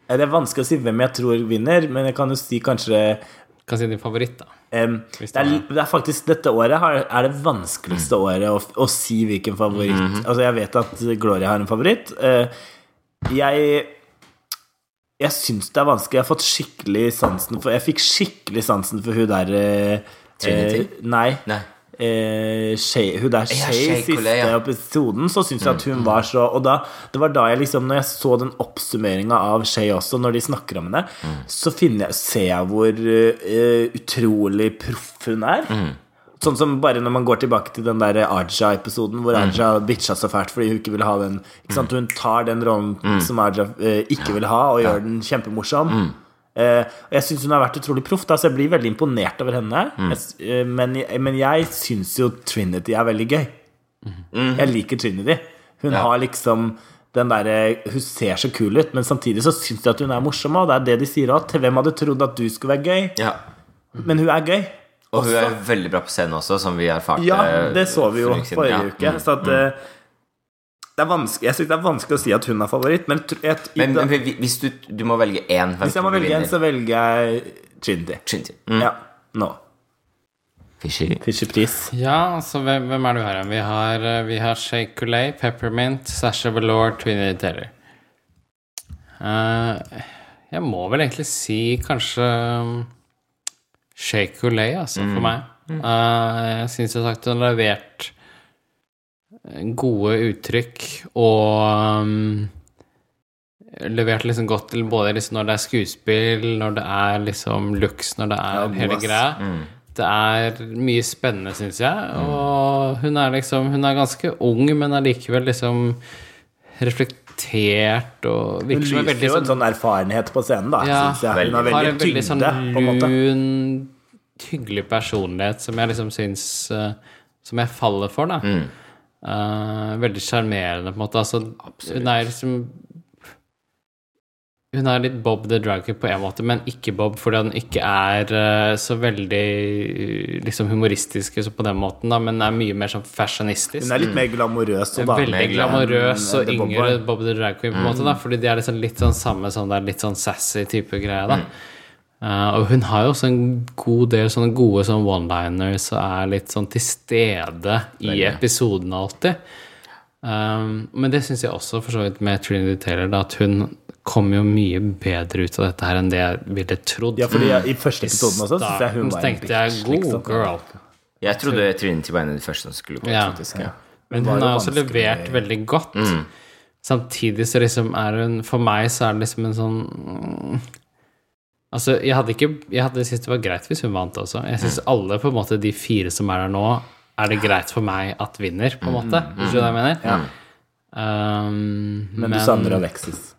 Speaker 1: Det er vanskelig å si hvem jeg tror vinner, men jeg kan jo si kanskje
Speaker 3: Kan si din favoritt, da.
Speaker 1: Em, det, er, li- det er faktisk Dette året har, er det vanskeligste året å, å si hvilken favoritt. Altså, jeg vet at Gloria har en favoritt. Eh, jeg jeg syns det er vanskelig. Jeg har fått skikkelig sansen for Jeg fikk skikkelig sansen for hun der eh,
Speaker 2: Trinity?
Speaker 1: eh, nei.
Speaker 2: Nei.
Speaker 1: Eh, Shay- hun der Shay
Speaker 2: Shay
Speaker 1: i siste
Speaker 2: Coley, ja.
Speaker 1: episoden, så syns jeg at hun var så Og da, det var da jeg liksom Når jeg så den oppsummeringa av Shay også, når de snakker om henne, så finner jeg, ser jeg hvor eh, utrolig proff hun er. Sånn som bare når man går tilbake til den der Aja-episoden hvor Aja bitcha så fælt fordi hun ikke ville ha den ikke sant? Hun tar den rollen som Aja eh, ikke vil ha, og gjør den kjempemorsom. Eh, og jeg syns hun har vært utrolig proff, da, så jeg blir veldig imponert over henne.
Speaker 2: Mm.
Speaker 1: Jeg, s- eh, men, jeg- men jeg syns jo Trinity er veldig gøy.
Speaker 2: Mm-hmm.
Speaker 1: Jeg liker Trinity. Hun har liksom den derre Hun ser så kul ut, men samtidig så syns jeg at hun er morsom, og det er det de sier òg. Hvem hadde trodd at du skulle være gøy?
Speaker 2: Ja.
Speaker 1: Men hun er gøy.
Speaker 2: Og hun
Speaker 1: Også-
Speaker 2: er veldig bra på scenen også, som vi erfarte.
Speaker 1: ja, det så vi jo
Speaker 2: for en uke siden.
Speaker 1: forrige
Speaker 2: Ja. Mm.
Speaker 1: uke. Så at eh, det er vanskelig, Jeg syns det er vanskelig å si at hun er favoritt, men tr- jeg,
Speaker 2: Men, men hvi- hvis du, du må velge én hvem
Speaker 1: hvis jeg må
Speaker 2: tror du
Speaker 1: velge en,
Speaker 2: vinner?
Speaker 1: så velger jeg Chindi.
Speaker 2: Shinji. Mm.
Speaker 1: Ja. Nå.
Speaker 2: Fishy.
Speaker 1: Fischerpris.
Speaker 3: Ja, altså, hvem, hvem er det vi har igjen? Vi har, eh, vi har Shake Coulee, Peppermint, Sasha Velour, Trinity Taylor. Eh, jeg må vel egentlig si kanskje um, Shake or Lay, altså,
Speaker 1: Mm.
Speaker 3: for meg. Eh, jeg syns jeg har sagt hun har levert eh, gode uttrykk og um, levert liksom godt til både liksom når det er skuespill, når det er liksom looks, når det er
Speaker 1: god,
Speaker 3: hele
Speaker 1: ass.
Speaker 3: greia.
Speaker 1: Mm.
Speaker 3: Det er mye spennende, syns jeg. Og hun er liksom Hun er ganske ung, men allikevel liksom reflektert og
Speaker 1: Hun
Speaker 3: virker som en
Speaker 1: lyser
Speaker 3: veldig
Speaker 1: jo en
Speaker 3: sånn
Speaker 1: sånn erfarenhet på scenen, da.
Speaker 3: Ja,
Speaker 1: synes jeg. Hun har
Speaker 3: har
Speaker 1: veldig
Speaker 3: en veldig
Speaker 1: tyngde,
Speaker 3: sånn
Speaker 1: på en måte.
Speaker 3: lun, hyggelig personlighet som jeg liksom syns eh, Som jeg faller for, da.
Speaker 1: Mm.
Speaker 3: Eh, veldig sjarmerende, på en måte. Altså, hun er liksom Hun er litt Bob the Dragger på en måte, men ikke Bob fordi hun ikke er eh, så veldig eh, liksom humoristisk så på den måten, da, men er mye mer sånn fashionistisk.
Speaker 1: Hun er litt mer glamorøs og
Speaker 3: Veldig
Speaker 1: damelig
Speaker 3: glamorøs
Speaker 1: enn
Speaker 3: og
Speaker 1: The Bob Mm.
Speaker 3: yngre
Speaker 1: Boy.
Speaker 3: Bob the Drag Queen, på en måte, da, fordi de er liksom litt sånn samme som det er litt sånn sassy type greie, da.
Speaker 1: Mm.
Speaker 3: Eh, og hun har jo også en god del sånne gode sånn one-liners og er litt sånn til stede i
Speaker 2: Veldig.
Speaker 3: episoden alltid. Um, men det syns jeg også for så vidt med Trinity Taylor, da, at hun kom jo mye bedre ut av dette her enn det jeg ville trodd.
Speaker 1: Ja, fordi jeg, i første episoden også synes jeg hun var en
Speaker 3: starten Mm. tenkte jeg
Speaker 1: bitch.
Speaker 3: god
Speaker 1: liksom.
Speaker 3: girl.
Speaker 2: Jeg trodde Trinity var en av de første som skulle gå.
Speaker 3: Ja.
Speaker 2: faktisk, ja.
Speaker 3: Men
Speaker 1: var
Speaker 3: hun
Speaker 1: jo
Speaker 3: har også
Speaker 1: vanskelig. Mm.
Speaker 3: levert veldig godt. Samtidig så liksom er hun For meg så er det liksom en sånn mm, Altså, jeg hadde ikke Jeg hadde syntes det var greit hvis hun vant også. Jeg syns
Speaker 1: Mm.
Speaker 3: alle på en måte de fire som er her nå, er det greit for meg at vinner, på en
Speaker 1: Mm,
Speaker 3: måte. Hvis du skjønner hva jeg mener? Um,
Speaker 1: Men du savner Alexis.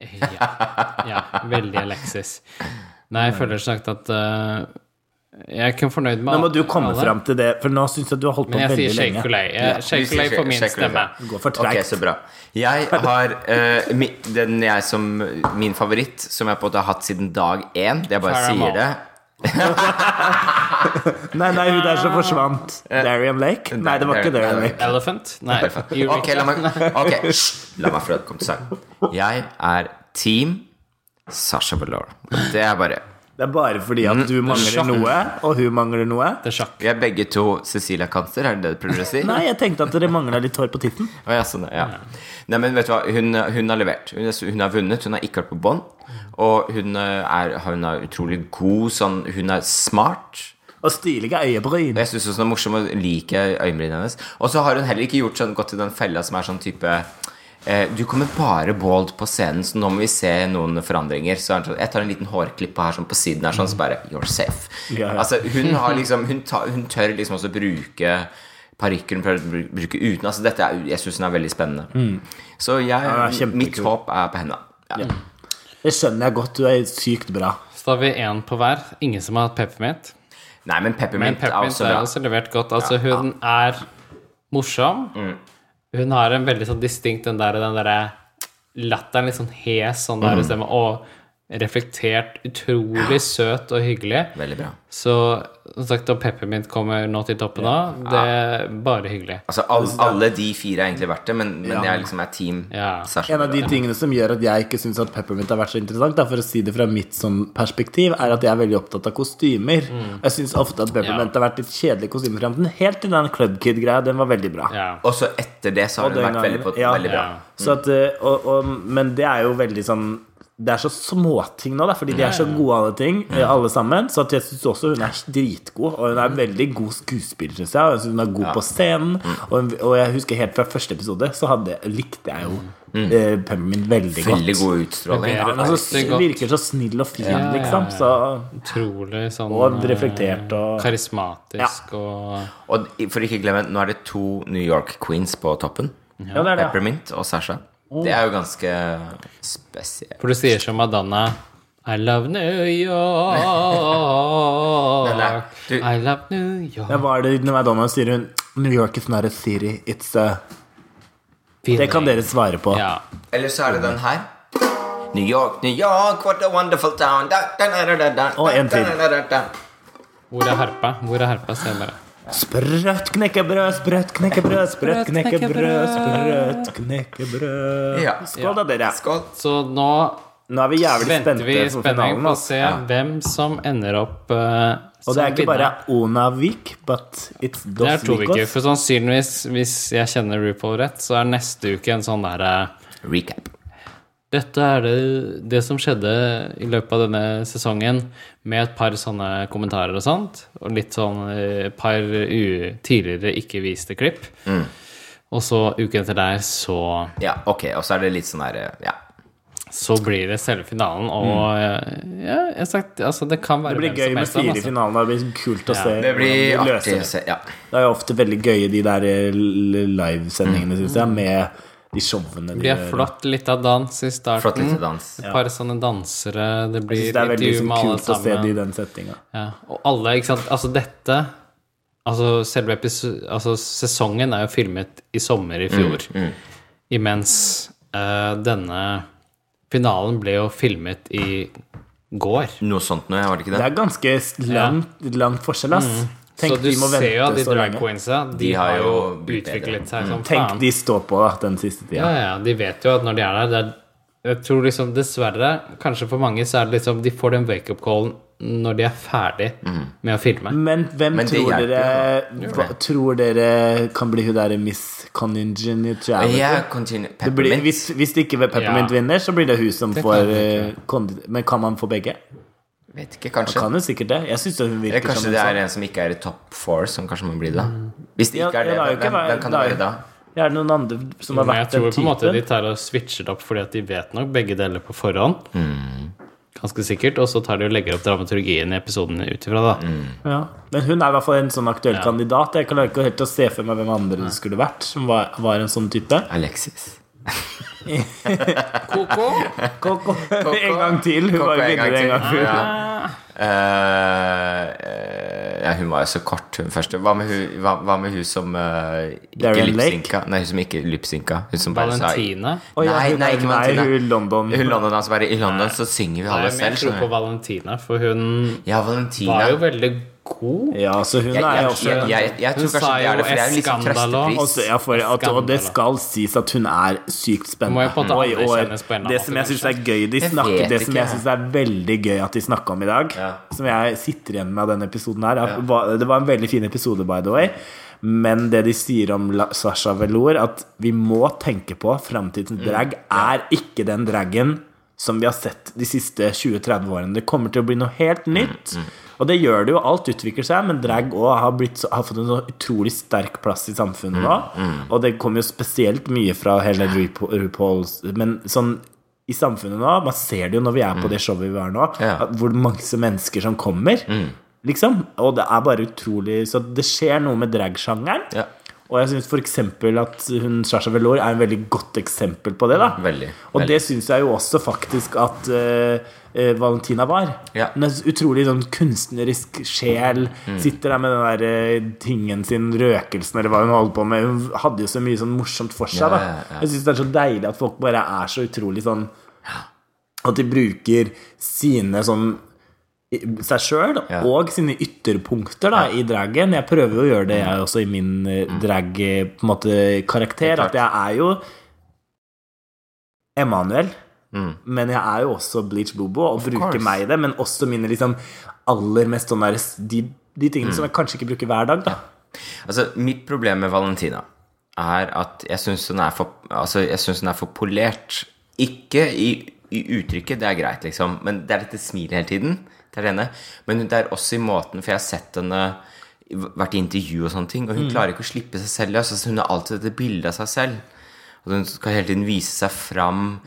Speaker 3: ja, ja, veldig Alexis. Nei, jeg føler sagt at eh, Jeg er ikke fornøyd med
Speaker 1: Nå må du komme
Speaker 3: alle,
Speaker 1: fram til det, for nå syns jeg du har holdt på
Speaker 3: Men jeg
Speaker 1: veldig
Speaker 3: sier
Speaker 1: lenge.
Speaker 3: Shake-O-Lay.
Speaker 2: Ja, du sier
Speaker 3: Shake-O-Lay
Speaker 2: shake-
Speaker 3: for min
Speaker 2: shake or lay.
Speaker 3: stemme.
Speaker 1: Du går for
Speaker 2: Ok,
Speaker 1: treigt.
Speaker 2: så bra. Jeg har eh, mi, den jeg som min favoritt, som jeg på en måte har hatt siden dag én. Jeg bare
Speaker 3: Farrah
Speaker 2: sier det.
Speaker 1: nei, nei, hun der som forsvant. Darian Lake? Nei, det var ikke Darian
Speaker 2: Darian- Darian-
Speaker 1: Lake.
Speaker 3: Elephant? Nei. Eureka.
Speaker 2: Ok, la meg, ok, hysj, la meg få lov til å komme til saken. Jeg er team Sasha Valora. Det er bare
Speaker 1: Det er bare fordi
Speaker 3: Mm.
Speaker 1: at du mangler
Speaker 3: sjokk.
Speaker 1: noe, og hun mangler noe.
Speaker 3: Det er sjakk.
Speaker 2: Vi er begge to Cecilia Cancer, er det det du prøver å si?
Speaker 1: Nei, jeg tenkte at dere mangla litt hår på titten.
Speaker 2: Å, ja, sånn, ja. Nei, men vet du hva, hun, hun har levert. Hun, er- hun har vunnet, hun har ikke vært på bånd. Og hun eh, er, hun er utrolig god sånn Hun er smart.
Speaker 1: Og stilige øyebryn.
Speaker 2: Og jeg syns hun er morsom og liker øyenbrynene hennes. Og så har hun heller ikke gjort sånn, gått i den fella som er sånn type eh, Du kommer bare bald på scenen, så nå må vi se noen forandringer. Så er hun sånn, jeg tar en liten hårklippe her sånn på siden her, sånn, så bare You're safe.
Speaker 1: Ja, ja.
Speaker 2: Altså, hun, har liksom, hun, ta, hun tør liksom også bruke parykker hun prøver å bru- bruke uten. Altså, dette er, jeg syns hun er veldig spennende. Så jeg,
Speaker 1: Mm. Ja, kjempekul.
Speaker 2: mitt håp er på henne. Ja.
Speaker 1: Det skjønner jeg godt. Du er sykt bra.
Speaker 3: Så da har vi én på hver. Ingen som har hatt peppermint.
Speaker 2: Nei, men
Speaker 3: Men
Speaker 2: Peppermint, er
Speaker 3: peppermint
Speaker 2: også
Speaker 3: er
Speaker 2: bra.
Speaker 3: også levert godt. Altså, hun er morsom.
Speaker 2: Mm.
Speaker 3: Hun har en veldig sånn distinkt den der, den derre latteren, litt sånn hes sånn
Speaker 2: Mm.
Speaker 3: der i stemmen, og reflektert. Utrolig søt og hyggelig.
Speaker 2: Veldig bra.
Speaker 3: Så som sagt, og peppermint kommer nå til toppen av, det er bare hyggelig.
Speaker 2: Altså, all, alle de fire er egentlig verdt det, men, men
Speaker 1: Ja.
Speaker 2: jeg liksom er team
Speaker 3: Ja.
Speaker 2: Sasha.
Speaker 1: En av de tingene som gjør at jeg ikke syns at peppermint har vært så interessant, da, for å si det fra mitt sånn perspektiv, er at jeg er veldig opptatt av kostymer. Jeg syns ofte at peppermint har vært litt kjedelig kostyme fram til den. Helt til den Club Kid-greia. Den var veldig bra.
Speaker 3: Ja.
Speaker 2: Og så etter det så har
Speaker 1: Og
Speaker 2: hun
Speaker 1: den
Speaker 2: vært veldig, på,
Speaker 1: gangen- ja.
Speaker 2: veldig bra.
Speaker 3: Ja.
Speaker 1: Så at, eh, og, og, men det er jo veldig sånn det er så småting nå, da, fordi de er så gode alle ting, eh, alle sammen. Så at jeg syns også hun er dritgod, og hun er veldig god skuespiller, syns jeg. Og jeg synes hun er god på scenen. Og, hun- og jeg husker helt fra første episode, så hadde, likte jeg jo eh, Peppermint veldig godt.
Speaker 2: Veldig god utstråling.
Speaker 3: Det
Speaker 1: Ja,
Speaker 2: Ja,
Speaker 3: blir-
Speaker 1: men altså,
Speaker 3: Veldig godt.
Speaker 1: virker så snill og fin,
Speaker 3: Ja, ja, ja.
Speaker 1: liksom. Så,
Speaker 3: Utrolig sånn
Speaker 1: og
Speaker 3: eh,
Speaker 1: reflektert og
Speaker 3: karismatisk og
Speaker 2: Og for ikke glemme, nå er det to New York Queens på toppen.
Speaker 1: Ja, det er det. ja.
Speaker 2: Peppermint og Sasha.
Speaker 1: Oh.
Speaker 2: Det er jo ganske spesielt.
Speaker 3: For du sier som Madonna I love New York
Speaker 2: Nei, nei, du-
Speaker 3: I love New York
Speaker 1: Ja, Hva er det når Madonna sier hun New York is not a city, it's a Det kan dere svare på.
Speaker 3: ja.
Speaker 2: Eller så er det den her. New York, New York, what a wonderful town. Da, da, da, da, da, da,
Speaker 1: Og en til.
Speaker 2: da, da, da, da.
Speaker 3: Hvor er harpa? Hvor er harpa? Se bare
Speaker 1: Sprøtt knekkebrød, sprøtt knekkebrød, sprøtt knekkebrød, sprøtt knekkebrød.
Speaker 2: Ja.
Speaker 1: Skål da, dere.
Speaker 2: Skål.
Speaker 3: Så nå
Speaker 1: Nå er vi jævlig
Speaker 3: venter vi
Speaker 1: spente
Speaker 3: i
Speaker 1: for
Speaker 3: spenning
Speaker 1: finalen.
Speaker 3: på å
Speaker 1: ass.
Speaker 3: se hvem som ender opp eh,
Speaker 1: Og det
Speaker 3: som
Speaker 1: er ikke bare
Speaker 3: vinner.
Speaker 1: Onavik, but it's Dos
Speaker 3: Det er to uker
Speaker 1: Vikos.
Speaker 3: For sannsynligvis, hvis jeg kjenner RuPaul rett Så er neste uke en sånn der eh,
Speaker 2: Recap.
Speaker 3: Dette er det, det som skjedde i løpet av denne sesongen, med et par sånne kommentarer og sånt, og litt sånn eh, par u tidligere ikke viste klipp. Og så uken etter der så,
Speaker 2: Ja, ok, og så er det litt sånn der eh, Ja.
Speaker 3: så blir det selve finalen, og eh, ja, jeg har sagt, altså det kan være
Speaker 1: Det blir
Speaker 3: hvem
Speaker 1: gøy
Speaker 3: som
Speaker 1: med
Speaker 3: helst, da,
Speaker 1: fire i
Speaker 3: altså.
Speaker 1: finalen. Det blir kult å se.
Speaker 2: Det blir
Speaker 1: hvordan de
Speaker 2: artig
Speaker 1: løser
Speaker 2: å
Speaker 1: det.
Speaker 2: se. Ja.
Speaker 1: Det er jo ofte veldig gøye, de der eh, l- livesendingene,
Speaker 2: Mm.
Speaker 1: syns jeg, med de showene de
Speaker 3: Det blir
Speaker 1: gjør.
Speaker 3: flott litt av dans i starten.
Speaker 2: Flott
Speaker 1: Mm.
Speaker 2: lite dans.
Speaker 3: Et par sånne dansere. Det
Speaker 1: Jeg
Speaker 3: blir
Speaker 1: synes det er veldig
Speaker 3: intervju
Speaker 1: sånn,
Speaker 3: med alle
Speaker 1: kult å se
Speaker 3: sammen.
Speaker 1: de i den settinga.
Speaker 3: Ja. Og alle, ikke sant. Altså dette Altså selve episo altså, sesongen er jo filmet i sommer i
Speaker 2: Mm,
Speaker 3: fjor. Imens eh, denne finalen ble jo filmet i går.
Speaker 2: Noe sånt noe, var det
Speaker 1: Det
Speaker 2: ikke det?
Speaker 1: er ganske langt, langt forskjell, ass. Tenk,
Speaker 3: Mm. så du
Speaker 1: de må
Speaker 3: ser jo at
Speaker 1: vente
Speaker 3: de
Speaker 1: så
Speaker 3: drag
Speaker 1: lenge. Mm.
Speaker 3: queensa, de,
Speaker 2: De har
Speaker 3: har jo
Speaker 2: jo blitt bedre.
Speaker 3: utviklet seg som
Speaker 1: Tenk
Speaker 3: faen.
Speaker 1: de står på da, den siste tida.
Speaker 3: Ja, ja, de vet jo at når de er der det er, Jeg tror liksom dessverre, kanskje for mange, så er det liksom De får den wake-up-callen når de er ferdig
Speaker 2: Mm.
Speaker 3: med å filme.
Speaker 1: Men hvem
Speaker 2: Men det
Speaker 1: tror
Speaker 2: hjelper,
Speaker 1: dere
Speaker 2: da.
Speaker 1: hva, Tror dere kan bli hun derre Miss Congeniality?
Speaker 2: Yeah, continue.
Speaker 1: Det blir,
Speaker 2: Peppermint.
Speaker 1: hvis, hvis det ikke Peppermint
Speaker 3: Ja.
Speaker 1: vinner, så blir det hun som
Speaker 3: Det
Speaker 1: får
Speaker 3: kan jeg
Speaker 1: eh, kondi- Men kan man få begge?
Speaker 2: Vet ikke, kanskje.
Speaker 1: Kan jo sikkert det. Jeg synes jo hun
Speaker 2: Eller
Speaker 1: virker som
Speaker 2: kanskje
Speaker 1: en
Speaker 2: det
Speaker 1: sånn Mm.
Speaker 2: er en som ikke er i topp four, som kanskje må bli det. Hvis det
Speaker 1: Ja,
Speaker 2: ikke er
Speaker 1: ja,
Speaker 2: det,
Speaker 1: det er jo ikke
Speaker 2: hvem,
Speaker 1: hver-
Speaker 2: hvem kan det
Speaker 1: det er
Speaker 2: være da?
Speaker 1: Ja, Er det noen andre som har
Speaker 3: Men jeg
Speaker 1: vært
Speaker 3: tror
Speaker 1: den
Speaker 3: på en måte de
Speaker 1: typen?
Speaker 3: tar og switcher det opp fordi at de vet nok begge deler på forhånd.
Speaker 2: Mm.
Speaker 3: Ganske sikkert. Og så tar de og legger opp dramaturgien i episodene ut ifra, da.
Speaker 2: Mm.
Speaker 1: Ja. Men hun er i hvert fall en sånn aktuell kandidat. Jeg klarer ikke helt å se for meg hvem andre det skulle vært som var, var en sånn type.
Speaker 2: Alexis.
Speaker 3: Koko?
Speaker 1: Coco en gang til. Hun
Speaker 2: Coco
Speaker 1: var jo vinner en gang før.
Speaker 2: Ja. Eh, eh, ja, hun var jo så kort, hun første. Hva med hun, hva, hva med hun som eh, ikke
Speaker 1: Darren Lake?
Speaker 2: lipsynka? Nei, hun som ikke lipsynka. Hun som bare sa
Speaker 3: Valentine?
Speaker 1: Å, ja,
Speaker 2: Nei,
Speaker 1: hun
Speaker 2: nei,
Speaker 1: er-
Speaker 2: ikke Valentina.
Speaker 1: Nei, hun London.
Speaker 2: Hun London, altså bare I London så synger vi
Speaker 3: Nei,
Speaker 2: alle
Speaker 3: men
Speaker 2: selv.
Speaker 3: jeg tror
Speaker 2: skjønner
Speaker 3: på
Speaker 2: du.
Speaker 3: Valentina, for hun
Speaker 2: Ja, Valentina.
Speaker 3: var jo veldig god.
Speaker 1: Ja, så hun
Speaker 2: jeg,
Speaker 1: er
Speaker 2: jeg,
Speaker 1: jo også
Speaker 2: jeg, jeg, jeg tror
Speaker 3: Hun
Speaker 2: kanskje
Speaker 3: sa
Speaker 2: det er det,
Speaker 3: jo
Speaker 2: for det er jo liksom
Speaker 3: Escandalo.
Speaker 2: trøstepris.
Speaker 1: Og så- ja, for at, og det
Speaker 3: Skandale.
Speaker 1: skal sies at hun er sykt spennende.
Speaker 3: Må jeg på en måte
Speaker 1: Og i år,
Speaker 3: anerkjennes på en eller annen
Speaker 1: det som jeg
Speaker 3: måte,
Speaker 1: syns er gøy de
Speaker 2: Jeg
Speaker 1: snakker,
Speaker 2: vet
Speaker 1: Det som
Speaker 2: ikke.
Speaker 1: jeg synes er veldig gøy at de snakka om i dag,
Speaker 2: Ja.
Speaker 1: som jeg sitter igjen med av denne episoden her er- var- Det var en veldig fin episode, by the way. Men det de sier om La- Sasha Velour, at vi må tenke på framtidens drag, er ikke den dragen som vi har sett de siste 20-30 årene. Det kommer til å bli noe helt nytt. Og det gjør det jo. Alt utvikler seg, men drag også har, blitt, så- har fått en så utrolig sterk plass i samfunnet nå. Og det kommer jo spesielt mye fra hele RuPaul, RuPaul's Men sånn i samfunnet nå, man ser det jo når vi er på det showet vi er nå,
Speaker 2: Ja.
Speaker 1: at hvor mange mennesker som kommer. Liksom. Og det er bare utrolig Så det skjer noe med dragsjangeren.
Speaker 2: Ja.
Speaker 1: Og jeg syns f.eks. at hun Sasha Velour er en veldig godt eksempel på det. da
Speaker 2: Veldig,
Speaker 1: Og
Speaker 2: veldig.
Speaker 1: det syns jeg jo også faktisk at eh, eh, Valentina var.
Speaker 2: Ja. Mm.
Speaker 1: Hun er så utrolig sånn kunstnerisk sjel. Sitter der med den der eh, tingen sin, røkelsen eller hva hun holder på med. Hun hadde jo så mye sånn morsomt for seg.
Speaker 2: Ja,
Speaker 1: da
Speaker 2: ja, ja.
Speaker 1: Jeg syns det er så deilig at folk bare er så utrolig sånn At de bruker sine sånn i- seg sjøl
Speaker 2: Ja.
Speaker 1: og sine ytterpunkter da, i dragen. Jeg prøver jo å gjøre det jeg også i min eh, drag eh, på en måte, karakter.
Speaker 2: Helt Mm. klart.
Speaker 1: At jeg er jo Emanuel,
Speaker 2: Mm.
Speaker 1: men jeg er jo også Bleach Bobo og bruker
Speaker 2: course.
Speaker 1: meg i det. Men også mine liksom aller mest sånn der de, de
Speaker 2: Mm.
Speaker 1: tingene som jeg kanskje ikke bruker hver dag, da.
Speaker 2: Altså, mitt problem med Valentina er at jeg syns hun, er for- altså, jeg synes hun er for polert. Ikke i, i uttrykket, det er greit, liksom, men det er dette smilet hele tiden. Det er det ene. Men det er også i måten, for jeg har sett henne vært i intervju og sånne ting, og hun klarer ikke å slippe seg selv løs. Altså, hun har alltid dette bildet av seg selv. Og hun skal hele tiden vise seg fram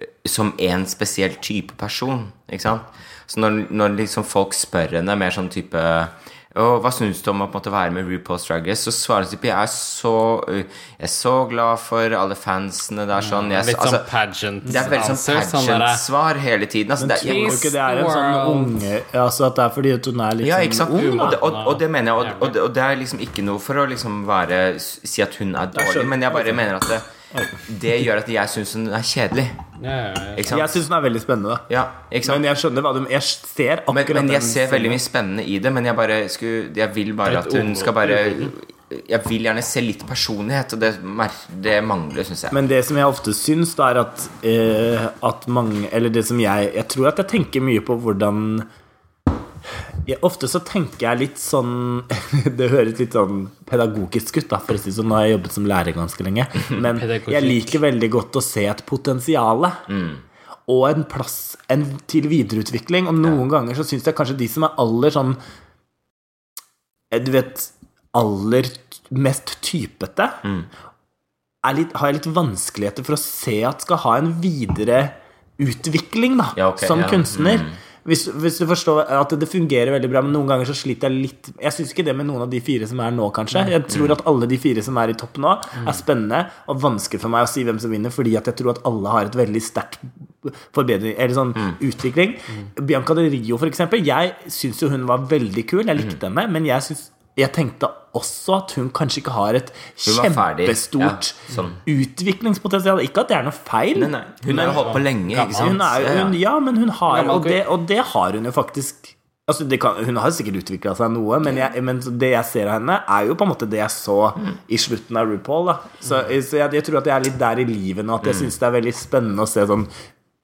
Speaker 2: eh, som en spesiell type person. Ikke sant? Så når, når liksom folk spør henne mer sånn type «Å, hva syns du om å på en måte være med RuPaul's Drag Race? Så svarer hun type Jeg er så, eh, jeg er så glad for alle fansene. Det er sånn jeg,
Speaker 3: Litt sånn
Speaker 2: altså,
Speaker 3: pageant
Speaker 2: Det er veldig
Speaker 3: answer,
Speaker 2: sånn
Speaker 3: sånn derre-
Speaker 2: pageant-svar hele tiden. Altså, det, er- jeg,
Speaker 1: Tror du ikke det er en sånn
Speaker 3: World.
Speaker 1: unge Altså at det er fordi at hun er litt
Speaker 2: ja,
Speaker 1: sånn
Speaker 2: ikke sant?
Speaker 1: ung, da.
Speaker 2: og, det, og, og det mener jeg, og, og, det, og det er liksom ikke noe for å liksom være si at hun er dårlig,
Speaker 1: skjønner.
Speaker 2: men jeg bare mener at det, det gjør at jeg syns hun er kjedelig.
Speaker 3: Ja, ja, ja.
Speaker 1: Jeg
Speaker 2: Ikke sant?
Speaker 1: syns hun er veldig spennende, da.
Speaker 2: Ja, ikke sant?
Speaker 1: Men jeg skjønner hva du Jeg ser akkurat
Speaker 2: Men, men
Speaker 1: den
Speaker 2: jeg ser
Speaker 1: scenen.
Speaker 2: veldig mye spennende i det, men jeg bare skulle Jeg vil bare at
Speaker 3: Et
Speaker 2: hun
Speaker 3: ord.
Speaker 2: skal bare Jeg vil gjerne se litt personlighet, og det, mer- det mangler, syns jeg.
Speaker 1: Men det som jeg ofte syns, da er at, eh, at mange Eller det som jeg Jeg tror at jeg tenker mye på hvordan jeg, Ofte så tenker jeg litt sånn Det høres litt sånn pedagogisk ut, da, for å si det sånn. Nå har jeg jobbet som lærer ganske lenge. Men jeg
Speaker 3: Pedagogikk.
Speaker 1: liker veldig godt å se et potensial. og en plass en, til videreutvikling. Og noen ganger så syns jeg kanskje de som er aller sånn eh, Du vet Aller mest typete er litt, har jeg litt vanskeligheter for å se at skal ha en videre utvikling da,
Speaker 2: Ja, ok,
Speaker 1: som
Speaker 2: ja. Mm.
Speaker 1: kunstner. Hvis, hvis du forstår at det fungerer veldig bra, men noen ganger så sliter jeg litt Jeg syns ikke det med noen av de fire som er nå, kanskje. Jeg
Speaker 2: Mm.
Speaker 1: tror at alle de fire som er i topp nå, er spennende og vanskelig for meg å si hvem som vinner, fordi at jeg tror at alle har et veldig sterkt forbedring Eller sånn
Speaker 2: Mm.
Speaker 1: utvikling. Bianca de Rio, for eksempel. Jeg syns jo hun var veldig kul. Jeg likte
Speaker 2: Mm.
Speaker 1: henne, men jeg synes jeg tenkte også at hun kanskje ikke har et
Speaker 2: Hun var ferdig.
Speaker 1: kjempestort
Speaker 2: Ja, sånn.
Speaker 1: utviklingspotensial. Ikke at det er noe feil.
Speaker 2: Nei, nei. Hun har jo holdt på lenge.
Speaker 3: gammel.
Speaker 2: Ikke sant?
Speaker 1: Hun er, jo- hun, ja, men hun har
Speaker 3: Gammel
Speaker 1: og
Speaker 3: kvinne.
Speaker 1: det, og det har hun jo faktisk. Altså, det kan, hun har sikkert utvikla seg noe, men, jeg, men det jeg ser av henne, er jo på en måte det jeg så i slutten av RuPaul. Da. Så, så jeg, jeg tror at jeg er litt der i livet nå,
Speaker 2: Mm.
Speaker 1: at jeg syns det er veldig spennende å se sånn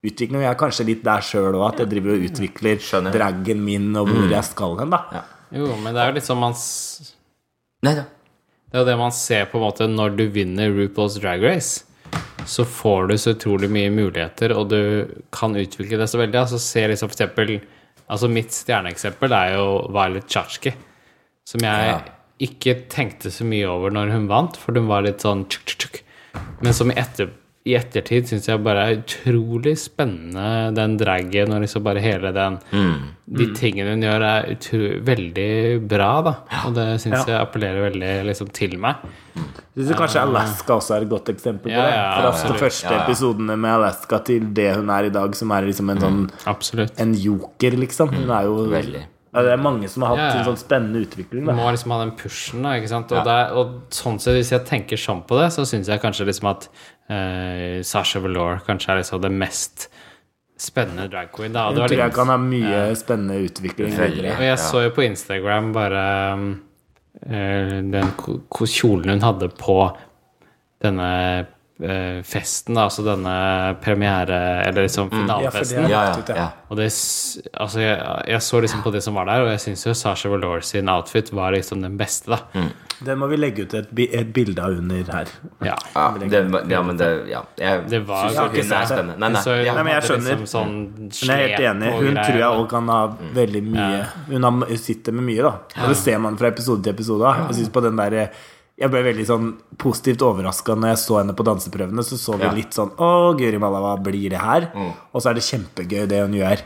Speaker 1: utvikling. Og jeg er kanskje litt der sjøl òg, at jeg driver og utvikler
Speaker 2: Skjønner. Mm.
Speaker 1: dragen min og hvor jeg skal hen, da.
Speaker 3: Jo, men det er jo litt sånn man s-
Speaker 2: Nei da.
Speaker 3: Det er jo det man ser på en måte når du vinner RuPaul's Drag Race. Så får du så utrolig mye muligheter, og du kan utvikle det så veldig. Altså, se liksom for eksempel, altså mitt stjerneeksempel er jo Violet Chachki, som jeg
Speaker 2: Ja.
Speaker 3: ikke tenkte så mye over når hun vant, for hun var litt sånn tjuk, tjuk, tjuk. Men som i, etter, i ettertid syns jeg bare er utrolig spennende, den dragen og liksom bare hele den
Speaker 1: Mm.
Speaker 3: De tingene hun gjør, er utro, veldig bra, da. Og det syns jeg appellerer veldig liksom, til meg.
Speaker 1: Jeg synes kanskje Alaska også er et godt eksempel på
Speaker 3: Ah. Ja,
Speaker 1: det.
Speaker 3: ja,
Speaker 1: Fra
Speaker 3: absolutt.
Speaker 1: de første
Speaker 2: Ja, ja.
Speaker 1: episodene med Alaska til det hun er i dag, som er liksom en sånn
Speaker 3: Mm. Absolutt.
Speaker 1: En joker, liksom. Hun er jo
Speaker 2: Veldig.
Speaker 1: ja, Det er mange som har hatt
Speaker 3: Ja, ja.
Speaker 1: en sånn spennende utvikling.
Speaker 3: Du
Speaker 1: Da.
Speaker 3: må liksom ha den pushen, da, ikke sant? Og, det er- og sånn sett, hvis jeg tenker sånn på det, så syns jeg kanskje liksom at eh, Sasha Velour kanskje er liksom det mest spennende drag queen. Da. Og, det
Speaker 1: Jeg tror jeg
Speaker 3: var litt,
Speaker 1: kan ha mye spennende utvikling.
Speaker 2: Veldig.
Speaker 1: videre.
Speaker 3: og jeg så jo på Instagram bare um, eh, den ko- ko- kjolen hun hadde på denne eh, festen, da, altså denne premiere... Eller liksom
Speaker 1: Ja, for det
Speaker 3: finalefesten.
Speaker 1: er
Speaker 2: Mm, Ja, ja,
Speaker 1: lagt ut, ja.
Speaker 2: ja.
Speaker 3: Og det, s- altså jeg, jeg så liksom på det som var der, og jeg syns jo Sasha Velour sin outfit var liksom den beste, da.
Speaker 2: Mm.
Speaker 1: Den må vi legge ut et, bi- et bilde av under her.
Speaker 3: Ja.
Speaker 2: Ja, det, var- ja, men det Ja. Jeg
Speaker 3: Det var-
Speaker 2: syns
Speaker 3: Ja,
Speaker 2: hun
Speaker 1: ikke
Speaker 2: er
Speaker 1: sant.
Speaker 2: spennende. Nei, nei.
Speaker 3: Så hun
Speaker 2: Ja.
Speaker 1: Nei, men jeg
Speaker 3: hadde
Speaker 1: skjønner.
Speaker 3: Liksom sånn
Speaker 1: Men jeg er helt
Speaker 3: slep
Speaker 1: enig.
Speaker 3: og
Speaker 1: Hun
Speaker 3: greier,
Speaker 1: tror jeg
Speaker 3: og-
Speaker 1: òg kan ha
Speaker 2: Mm.
Speaker 1: veldig mye Hun har, hun sitter med mye, da. Og det ser man fra episode til episode. da. Jeg synes på den der jeg ble veldig sånn positivt overraska når jeg så henne på danseprøvene. Så så vi
Speaker 2: Ja. Mm.
Speaker 1: litt sånn Å, Guri malla, hva blir det her? Og så er det kjempegøy, det hun gjør.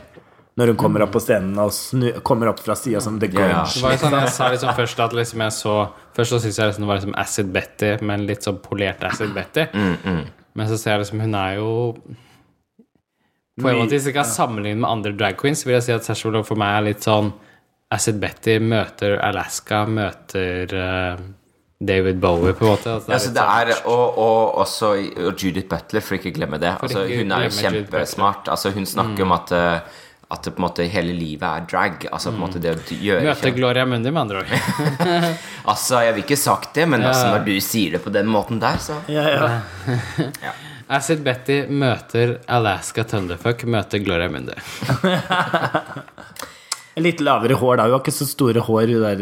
Speaker 1: Når hun kommer opp på scenen og snu, kommer opp fra sida som The
Speaker 2: ja.
Speaker 1: Grunge.
Speaker 3: Det var jo sånn, jeg sa liksom først at liksom jeg så Først så syntes jeg liksom det var liksom Acid Betty, men litt sånn polert Acid Betty.
Speaker 2: Mm,
Speaker 3: Men så ser jeg liksom Hun er jo På en måte, hvis jeg kan sammenligne med andre drag queens, vil jeg si at Sasha Velour for meg er litt sånn Acid Betty møter Alaska, møter eh, David Bowie, på en måte. Altså, det er
Speaker 2: Altså,
Speaker 3: litt
Speaker 2: det
Speaker 3: sånn-
Speaker 2: er, og, og også og Judith Butler, for ikke å glemme det. Altså,
Speaker 3: ikke
Speaker 2: hun er jo
Speaker 3: glemme Judith Butler.
Speaker 2: kjempesmart. Altså, hun snakker om at, eh, at det på en måte hele livet er drag. Altså, på en måte det å gjøre
Speaker 3: Møter Gloria Mundi, med andre ord.
Speaker 2: Altså, Jeg vil ikke sagt det, men altså, når du sier det på den måten der, så
Speaker 1: Ja, ja.
Speaker 3: Acid Betty møter Alaska Thunderfuck møter Gloria Mundi.
Speaker 1: Litt lavere hår da. Hun har ikke så store hår, hun eh,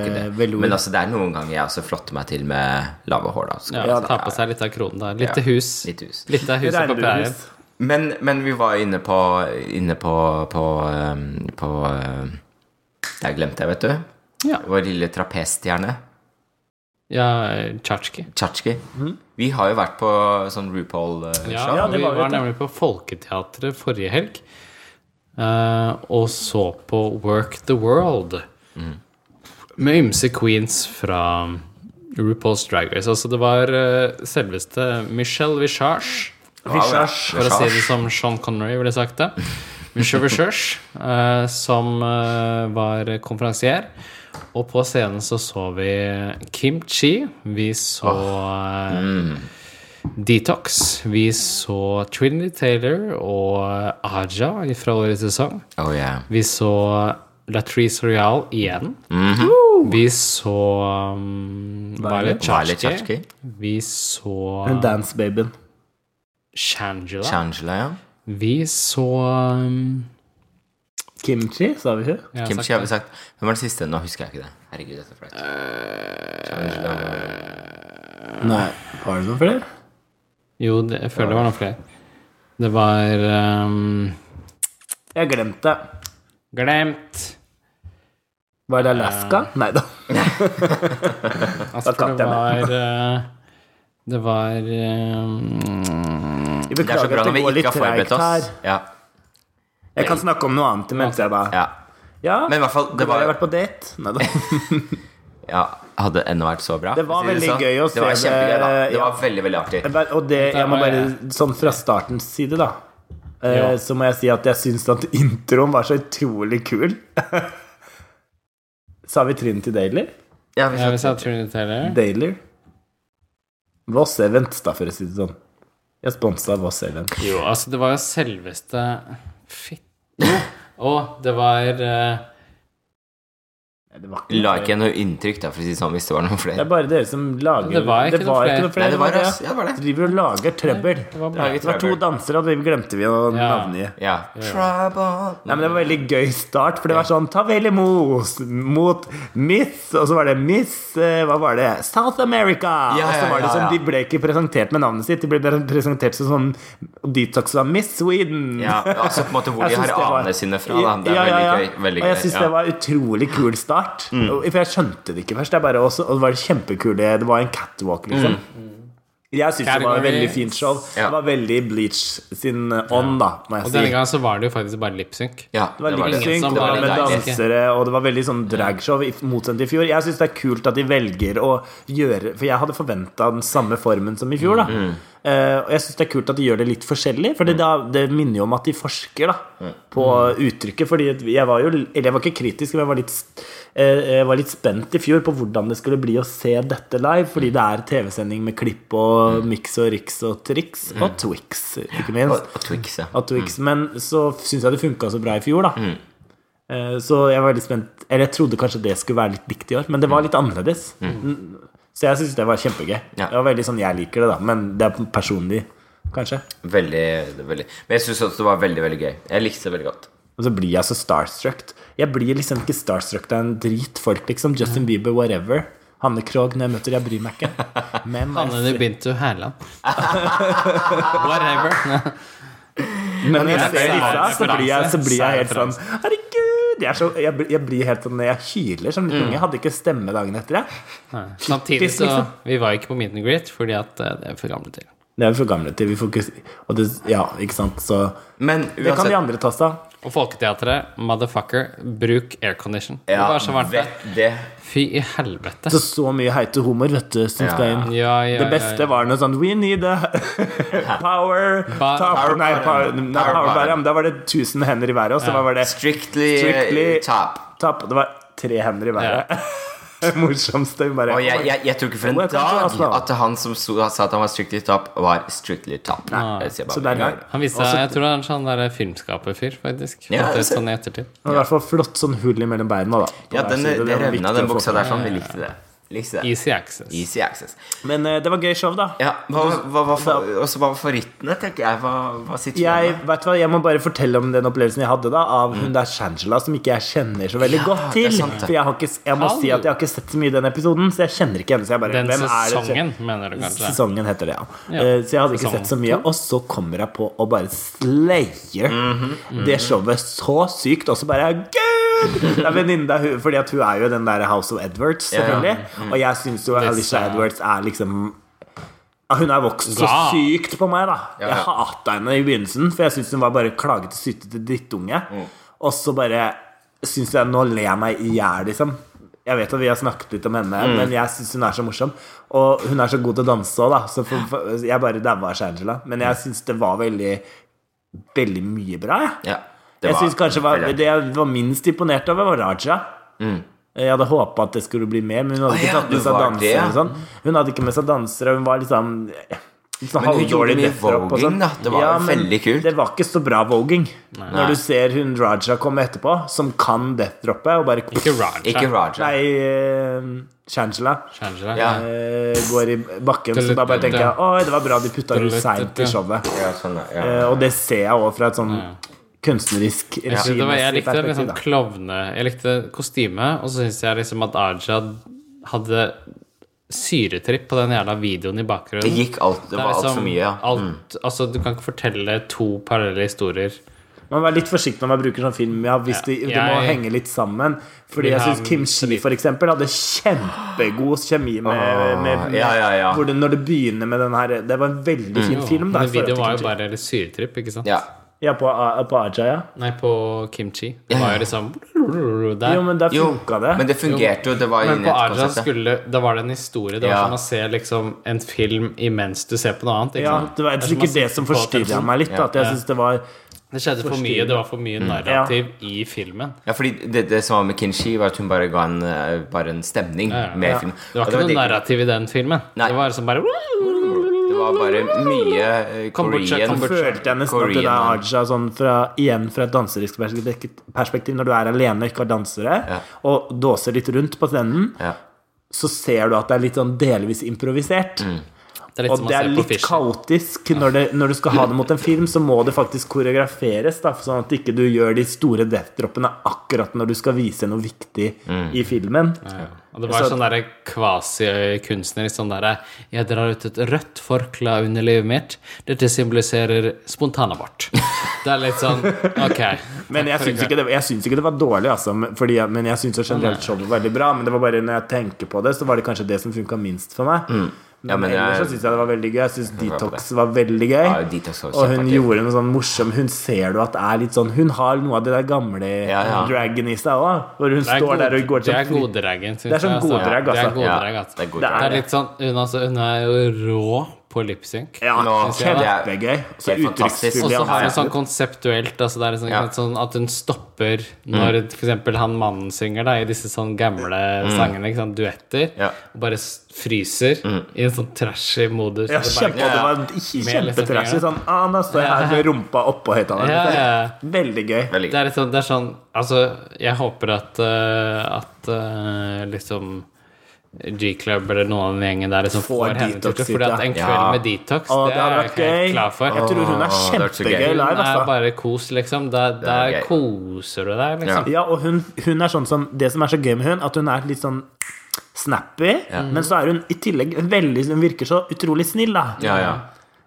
Speaker 1: derre velour.
Speaker 2: Men altså, det er noen ganger jeg også flotter meg til med lave hår. da så-
Speaker 3: Ja, Ta på seg litt av kronen der. Litt
Speaker 2: Ja,
Speaker 3: til hus.
Speaker 2: litt hus.
Speaker 3: Litt av huset på pleien.
Speaker 1: Regnbuehus.
Speaker 2: Men, men vi var inne på Inne på På, um, på um, Der glemte jeg, vet du.
Speaker 3: Ja.
Speaker 2: Vår lille trapesstjerne,
Speaker 3: Ja, Tchatsjki.
Speaker 2: Chatsjki. Vi har jo vært på sånn RuPaul-show.
Speaker 3: Mhm. Ja,
Speaker 1: Ja, det
Speaker 3: vi
Speaker 1: var vi,
Speaker 3: var
Speaker 1: vet du.
Speaker 3: nemlig på Folketeatret forrige helg. eh, og så på Work the World.
Speaker 1: Mm.
Speaker 3: Med ymse queens fra RuPaul's Drag Race. Altså, det var eh, selveste Michelle Visage.
Speaker 1: Visage.
Speaker 3: For å si det som Sean Connery ville sagt det. Michelle Visage, eh, som eh, var konferansier. Og på scenen så så vi Kim Chi. Vi så eh, Detox. Vi så Trinity Taylor og eh, Aja fra årets sesong.
Speaker 2: Oh, yeah.
Speaker 3: Vi så eh, Latrice Royal igjen. Vi så um, Violet
Speaker 2: Violet
Speaker 3: Chachki.
Speaker 2: Chachki.
Speaker 3: Vi så
Speaker 1: Hun dancebabyen.
Speaker 3: Shangela.
Speaker 2: Changela, ja.
Speaker 3: Vi så um,
Speaker 1: Kimchi, sa vi hun.
Speaker 3: jeg har
Speaker 2: Kim
Speaker 3: sagt
Speaker 2: Chi har
Speaker 3: det.
Speaker 2: vi sagt. Hvem var det siste? Nå husker jeg ikke det. Herregud, dette er flaut.
Speaker 3: Eh,
Speaker 2: Shangela.
Speaker 1: Nei, var det noen flere?
Speaker 3: Jo, det, jeg føler det var noen flere. Det var ehm,
Speaker 1: Jeg glemte det.
Speaker 3: Glemt.
Speaker 1: Var det Alaska?
Speaker 2: Eh,
Speaker 1: Nei da.
Speaker 3: Altså, for
Speaker 1: Da tapte
Speaker 3: det
Speaker 1: jeg
Speaker 3: var eh, Det var ehm,
Speaker 1: Vi
Speaker 2: Det er så
Speaker 1: beklager
Speaker 2: bra
Speaker 1: at
Speaker 2: når
Speaker 1: det
Speaker 2: vi
Speaker 1: går
Speaker 2: ikke
Speaker 1: litt
Speaker 2: har forberedt
Speaker 1: treigt her.
Speaker 2: oss. Ja,
Speaker 1: Jeg kan snakke om noe annet mens jeg da
Speaker 2: ja.
Speaker 1: Ja,
Speaker 2: Men i hvert fall, det
Speaker 1: har jeg
Speaker 2: var
Speaker 1: vært på date. Nei da.
Speaker 2: ja, Hadde ennå vært så bra.
Speaker 1: Det var
Speaker 2: for å si
Speaker 1: veldig gøy å se
Speaker 2: Det var
Speaker 1: det,
Speaker 2: kjempegøy, da. Det
Speaker 1: ja.
Speaker 2: var veldig, veldig artig.
Speaker 1: Jeg bare- Og det, jeg må bare, sånn fra startens side, da, eh,
Speaker 3: Ja.
Speaker 1: så må jeg si at jeg syns at introen var så utrolig kul. Sa vi Trinity Daily?
Speaker 2: Ja, vi
Speaker 3: Ja, vi sa
Speaker 2: satt-
Speaker 3: Trinity Taylor.
Speaker 1: Daily? Voss Event, da, for å si det sånn. Jeg sponsa Voss Event.
Speaker 3: Jo, altså, det var jo selveste Fitt. Og det var eh,
Speaker 1: Nei, det var ikke
Speaker 2: La ikke noe inntrykk, da, for å si det sånn, hvis det var noen
Speaker 1: Det
Speaker 2: flere.
Speaker 1: er bare dere som lager
Speaker 3: Det var ikke noe flere.
Speaker 2: Nei, det var
Speaker 1: det.
Speaker 2: oss. Ja, det var det.
Speaker 1: Driver og lager trøbbel.
Speaker 3: Det var bra.
Speaker 2: Laget
Speaker 1: Det var to
Speaker 2: trøbbel.
Speaker 1: dansere, og det glemte vi å
Speaker 3: Ja.
Speaker 1: navngi.
Speaker 2: Ja.
Speaker 1: Nei, men Det var veldig gøy start, for det var sånn Ta vel imot mot Miss Og så var det Miss eh, Hva var det? South America!
Speaker 2: Ja,
Speaker 1: og så
Speaker 2: ja,
Speaker 1: var det
Speaker 2: ja,
Speaker 1: sånn,
Speaker 2: ja.
Speaker 1: De ble ikke presentert med navnet sitt, de ble pre- presentert som sånn Og de tok som Miss Sweden.
Speaker 2: Ja, altså på en måte hvor
Speaker 1: Jeg
Speaker 2: de har
Speaker 1: syns det var-
Speaker 2: anene sine fra, da. Det er
Speaker 1: Ja, ja, ja.
Speaker 2: veldig gøy. Veldig
Speaker 1: og jeg
Speaker 2: gøy,
Speaker 1: syns
Speaker 2: ja. Mm.
Speaker 1: det var utrolig kul start. Og- For jeg skjønte det ikke først. Det er bare også, og det var kjempekule Det var en catwalk, liksom.
Speaker 3: Mm.
Speaker 1: Jeg syns det var et
Speaker 3: Category.
Speaker 1: veldig fint show.
Speaker 2: Mm. Ja.
Speaker 1: Det var veldig Bleach sin eh, ånd, da, må jeg
Speaker 3: Og
Speaker 1: si.
Speaker 3: denne gangen så var det jo faktisk bare lipsync.
Speaker 2: ja,
Speaker 1: Det var
Speaker 2: det.
Speaker 1: litt synk,
Speaker 3: som
Speaker 1: det var
Speaker 3: var
Speaker 1: med
Speaker 2: deilig.
Speaker 1: dansere, og det var veldig sånn dragshow, i motsatt i fjor. Jeg syns det er kult at de velger å gjøre For jeg hadde forventa den samme formen som i fjor, da. Eh, og jeg syns det er kult at de gjør det litt forskjellig, for det, da- det minner jo om at de forsker da på uttrykket. Fordi at jeg var jo Eller jeg var ikke kritisk, men jeg var litt, eh, jeg var litt spent i fjor på hvordan det skulle bli å se dette live, fordi det er TV-sending med klipp og miks og riks og triks, og Twix, ikke minst.
Speaker 2: Og, og Twix, ja.
Speaker 1: At du ikke, Men så syns jeg det funka så bra i fjor, da. Eh, Så jeg var litt spent Eller jeg trodde kanskje det skulle være litt likt i år, men det var litt annerledes. Mm. Så jeg syns det var kjempegøy.
Speaker 2: Ja.
Speaker 1: Det var veldig sånn jeg liker det, da. Men det er personlig, kanskje.
Speaker 2: Veldig, det er veldig Men jeg syns også det var veldig, veldig gøy. Jeg likte det veldig godt.
Speaker 1: Og så blir jeg så starstruck. Jeg blir liksom ikke starstruck av en dritfolk, liksom. Justin Bieber, whatever. Hanne Krogh når jeg møter, jeg bryr meg ikke. Men
Speaker 3: Anne
Speaker 1: jeg,
Speaker 3: Nubintu Herland. Whatever.
Speaker 1: men når jeg
Speaker 3: det er
Speaker 1: ser
Speaker 3: en
Speaker 1: Lisa, så blir jeg, så blir jeg helt sånn
Speaker 3: referanse.
Speaker 1: Herregud! Jeg, er så, jeg, blir- jeg blir helt sånn Jeg hyler som liten unge. Jeg Hadde ikke stemme dagen etter, jeg.
Speaker 3: Samtidig så
Speaker 1: liksom.
Speaker 3: Vi var ikke på meet and greet fordi at eh, det er for gamle til.
Speaker 1: Det er vi for gamle til. Vi fokuserer og det, Ja, ikke sant. Så
Speaker 2: Men
Speaker 1: det kan de
Speaker 2: uansett
Speaker 1: andre ta seg av.
Speaker 3: Og Folketeatret, motherfucker, bruk aircondition.
Speaker 2: ja,
Speaker 3: det var så varmt der.
Speaker 2: vet det.
Speaker 3: Fy i helvete.
Speaker 1: Så så mye heite homer, vet du, som
Speaker 2: Ja,
Speaker 1: skal inn.
Speaker 3: Ja, ja,
Speaker 1: Det beste
Speaker 3: ja, ja.
Speaker 1: var noe sånn We need a power
Speaker 3: Ba-
Speaker 1: top
Speaker 2: Power
Speaker 1: Nei, power,
Speaker 2: bottom.
Speaker 1: nei, power
Speaker 2: Power bottom.
Speaker 1: bottom. Da var det 1000 hender i været, og så var det
Speaker 2: Strictly,
Speaker 1: Strictly-
Speaker 2: eh, top.
Speaker 1: top. Det var tre hender i været. Morsomste. vi Bare,
Speaker 2: Og jeg, jeg, jeg tror ikke for en
Speaker 1: Welcome to
Speaker 2: dag
Speaker 1: Oslo.
Speaker 2: at han som so, sa at han var strictly top, var strictly top. Det sier jeg bare
Speaker 1: Så
Speaker 2: med
Speaker 1: der
Speaker 2: en gang.
Speaker 1: gang.
Speaker 3: Han viste seg, Jeg tror han er en sånn der filmskaperfyr, faktisk.
Speaker 2: altså- Ja,
Speaker 3: Fant ut
Speaker 2: altså- det ser-
Speaker 3: sånn i ettertid.
Speaker 1: Det var i hvert fall flott sånn hull mellom beina, da. på
Speaker 2: Ja,
Speaker 1: hver
Speaker 2: den,
Speaker 1: side.
Speaker 2: det
Speaker 1: var
Speaker 2: revna,
Speaker 1: viktig å
Speaker 2: den
Speaker 1: få
Speaker 2: buksa
Speaker 1: med.
Speaker 2: der sånn. Vi likte det. Likte det.
Speaker 3: Easy access.
Speaker 2: Easy access.
Speaker 1: Men eh, det var gøy show, da.
Speaker 2: Ja, hva, hva, var for, også hva var favorittene, tenker jeg? Hva, hva sitter
Speaker 1: jeg,
Speaker 2: du med?
Speaker 1: vet du hva, jeg må bare fortelle om den opplevelsen jeg hadde da av hun der Shangela, som ikke jeg kjenner så veldig
Speaker 2: Mm. Ja,
Speaker 1: godt
Speaker 2: det er
Speaker 1: til.
Speaker 2: sant, det.
Speaker 1: For jeg, har ikke, jeg må si at jeg har ikke sett så mye i den episoden, så jeg kjenner ikke henne. Så jeg bare,
Speaker 3: Den
Speaker 1: hvem
Speaker 3: sesongen,
Speaker 1: er det?
Speaker 3: mener du kanskje?
Speaker 1: Sesongen heter det, ja.
Speaker 3: Ja,
Speaker 1: Eh, Så jeg hadde ikke sett
Speaker 3: sesong
Speaker 1: så mye. Og så kommer jeg på å bare slayer
Speaker 2: Mhm,
Speaker 1: det showet så sykt. Og så bare Gud! Det er venninna hun Fordi at hun er jo den der House of Edwards,
Speaker 2: Ja, ja.
Speaker 1: selvfølgelig. Og jeg syns jo Alicia
Speaker 3: Disse-
Speaker 1: Edwards er liksom ja, Hun er vokst så
Speaker 3: Bra.
Speaker 1: sykt på meg, da.
Speaker 2: Ja, ja.
Speaker 1: Jeg hata henne i begynnelsen, for jeg syntes hun var bare klagete, sytete drittunge.
Speaker 2: Mm.
Speaker 1: Og så bare syns jeg Nå ler jeg meg i hjel, liksom. Jeg vet at vi har snakket litt om henne,
Speaker 2: Mm.
Speaker 1: men jeg syns hun er så morsom. Og hun er så god til å danse òg, da. Så for, for, jeg bare daua Shangela. Men jeg syns det var veldig Veldig mye bra, jeg.
Speaker 2: Mm. Ja,
Speaker 1: jeg synes kanskje var,
Speaker 2: veldig-
Speaker 1: Det jeg var minst imponert over, var Raja. Jeg hadde håpa at det skulle bli mer, men hun hadde
Speaker 2: Mm. Å
Speaker 1: ikke
Speaker 2: ja,
Speaker 1: tatt
Speaker 2: du
Speaker 1: med seg
Speaker 2: var det,
Speaker 1: dansere.
Speaker 2: ja.
Speaker 1: og Sånn. Hun hadde ikke med seg dansere, hun var liksom litt sånn
Speaker 2: Men hun gjorde
Speaker 1: halvdårlig
Speaker 2: mye
Speaker 1: deathrock og sånn.
Speaker 2: voging, da. Det var jo
Speaker 1: men
Speaker 2: veldig kult.
Speaker 1: Det var ikke så bra voging.
Speaker 2: Nei.
Speaker 1: Når du ser hun Raja komme etterpå, som kan deathroppe, og bare
Speaker 3: Ikke Raja.
Speaker 2: Ikke Raja.
Speaker 1: Nei, eh, Shangela
Speaker 3: Shangela.
Speaker 2: Ja.
Speaker 1: eh, går i bakken, så da bare tenker jeg Oi, det var bra de putta hun seint i showet.
Speaker 2: Ja, sånn, ja.
Speaker 1: Eh, Og det ser jeg òg fra et sånn kunstnerisk
Speaker 3: Jeg, synes det var,
Speaker 1: regimessig
Speaker 3: jeg likte
Speaker 1: perspektiv.
Speaker 3: liksom
Speaker 1: da.
Speaker 3: klovne Jeg likte kostymet, og så syns jeg liksom at Aja hadde syretripp på den jævla videoen i
Speaker 2: Det
Speaker 3: bakgrunnen.
Speaker 2: gikk alt, det
Speaker 3: Det er
Speaker 2: var altfor
Speaker 3: liksom
Speaker 2: mye, ja. Mm.
Speaker 3: alt- altså, du kan ikke fortelle to parallelle historier.
Speaker 1: Man må være litt forsiktig når man bruker sånn film. Ja, hvis de, det må
Speaker 3: Jeg-
Speaker 1: henge litt sammen. Fordi
Speaker 3: Vi
Speaker 1: jeg
Speaker 3: har
Speaker 1: syns Kim Shi for eksempel hadde kjempegod kjemi med,
Speaker 2: Åh,
Speaker 1: med, med
Speaker 2: ja, ja, ja.
Speaker 1: Hvor det, Når det begynner med den her Det var en veldig fin film. Da, i
Speaker 3: Mm.
Speaker 1: forhold
Speaker 3: Men
Speaker 1: til
Speaker 3: videoen var jo
Speaker 1: Kim Chi.
Speaker 3: bare syretripp, ikke sant?
Speaker 2: ja.
Speaker 1: Ja, på, A- på Ajaya.
Speaker 3: Nei, på kimchi. Det var jo liksom der.
Speaker 1: Jo, men da
Speaker 2: Jo,
Speaker 1: funka det.
Speaker 2: men det fungerte jo. Det var
Speaker 3: Men
Speaker 2: inne i
Speaker 3: på
Speaker 2: et
Speaker 3: Arjan
Speaker 2: konsept.
Speaker 3: skulle Da var det en historie. Det var
Speaker 2: altså.
Speaker 3: som
Speaker 2: Ja.
Speaker 3: å se liksom en film imens du ser på noe annet. Ikke
Speaker 1: ja,
Speaker 3: sant?
Speaker 1: det var
Speaker 3: Det er som å
Speaker 1: sikkert det
Speaker 3: sitte
Speaker 1: som
Speaker 3: på
Speaker 1: forstyrra
Speaker 3: telefonen.
Speaker 1: meg litt. da, At jeg
Speaker 3: sånn. Ja.
Speaker 1: synes det var
Speaker 3: Det skjedde for mye. Det var for mye narrativ i filmen.
Speaker 2: Ja, fordi det, det som var med Kinshi, var at hun bare ga en, eh, bare en stemning
Speaker 3: ja.
Speaker 2: med
Speaker 1: Ja.
Speaker 2: filmen.
Speaker 3: Det var
Speaker 2: Og
Speaker 3: ikke noe
Speaker 2: det-
Speaker 3: narrativ i den filmen.
Speaker 2: Nei.
Speaker 3: Det var liksom bare
Speaker 2: Det var bare mye eh,
Speaker 3: Kombucha,
Speaker 1: Jeg
Speaker 2: Korean
Speaker 1: følte jeg nesten at det der
Speaker 2: Korean-
Speaker 1: Aja sånn fra, igjen fra et danserisk perspektiv, perspektiv, når du er alene og ikke har dansere,
Speaker 2: Ja.
Speaker 1: og dåser litt rundt på scenen,
Speaker 2: ja.
Speaker 1: så ser du at det er litt sånn delvis improvisert.
Speaker 2: Mm.
Speaker 3: Det er litt
Speaker 1: Og
Speaker 3: som å
Speaker 1: det
Speaker 3: se
Speaker 1: er
Speaker 3: på
Speaker 1: litt
Speaker 3: Fisher.
Speaker 1: kaotisk. Når, det, når du skal ha det mot en film, så må det faktisk koreograferes, da, sånn at ikke du gjør de store death-droppene akkurat når du skal vise noe viktig
Speaker 2: Mm.
Speaker 1: i filmen.
Speaker 3: Og det var
Speaker 1: Så-
Speaker 3: sånn derre kvasikunstnerisk sånn derre Jeg drar ut et rødt forkle under livet mitt. Dette symboliserer spontanabort. Det er litt sånn Ok.
Speaker 1: Men jeg syns ikke, det- jeg syns ikke det var dårlig, altså. men- Fordi, jeg- men jeg syns jo generelt showet var veldig bra. Men det var bare når jeg tenker på det, så var det kanskje det som funka minst for meg.
Speaker 2: Mm. Ja,
Speaker 1: men
Speaker 2: men jeg-
Speaker 1: ellers så syns jeg det var veldig gøy. Jeg syns
Speaker 2: var på
Speaker 1: Detox var veldig gøy.
Speaker 2: Ja, Detox var
Speaker 1: og hun
Speaker 2: kjempeartig.
Speaker 1: gjorde noe sånn morsom Hun ser du at det er litt sånn Hun har noe av det der gamle
Speaker 2: Ja, ja.
Speaker 1: dragon i seg òg. Hvor hun står der og går
Speaker 3: Det er
Speaker 1: sånn
Speaker 3: goddragen, syns
Speaker 1: Det er sånn goddrag,
Speaker 3: Det
Speaker 1: altså.
Speaker 3: er goddrag,
Speaker 2: Ja,
Speaker 3: altså.
Speaker 2: det er god
Speaker 1: Det
Speaker 3: Det
Speaker 1: er
Speaker 3: er litt sånn Hun, altså, hun er jo rå på lipsync.
Speaker 1: Ja,
Speaker 2: Nå, det er
Speaker 1: kjempegøy. Så
Speaker 2: helt fantastisk.
Speaker 1: uttrykksfull
Speaker 3: Og
Speaker 1: i
Speaker 3: så har hun sånn
Speaker 1: ansiktet.
Speaker 3: konseptuelt altså det er sånn,
Speaker 2: Ja.
Speaker 3: sånn At hun stopper når for eksempel han mannen synger da, i disse sånn gamle sangene, ikke sant, duetter,
Speaker 2: Ja.
Speaker 3: og bare s- fryser i en sånn trashy modus.
Speaker 1: Ja,
Speaker 3: og det bare-
Speaker 1: kjempe,
Speaker 2: Ja, ja.
Speaker 1: Det var
Speaker 3: Med liksom
Speaker 1: kjempetrashy.
Speaker 3: fingrene.
Speaker 1: Sånn ah, Nå står jeg her med rumpa oppå
Speaker 3: Ja,
Speaker 1: høyttaleren.
Speaker 3: ja.
Speaker 1: Veldig gøy.
Speaker 2: Veldig
Speaker 3: Det er, litt sånn, det er sånn Altså, jeg håper at, eh, at eh, liksom G-Club eller noen av den gjengen der liksom
Speaker 1: Får
Speaker 3: får henne til
Speaker 1: detox
Speaker 3: det. Fordi
Speaker 1: ut,
Speaker 3: at
Speaker 1: ja.
Speaker 3: en kveld
Speaker 2: Ja.
Speaker 3: med detox,
Speaker 1: Å, det
Speaker 3: det,
Speaker 1: hadde
Speaker 3: er
Speaker 1: vært
Speaker 3: jeg ikke helt
Speaker 1: gøy.
Speaker 3: klar for.
Speaker 1: Jeg tror hun er
Speaker 2: Åh, det hadde vært så gøy.
Speaker 1: kjempegøy live.
Speaker 3: Det er
Speaker 1: Altså.
Speaker 3: bare kos, liksom. Der, der
Speaker 2: gøy.
Speaker 3: koser du deg, liksom.
Speaker 1: Ja, og hun, hun er sånn som Det som er så gøy med hun, at hun er litt sånn snappy, men så er hun i tillegg veldig Hun virker så utrolig snill, da.
Speaker 2: Ja, ja.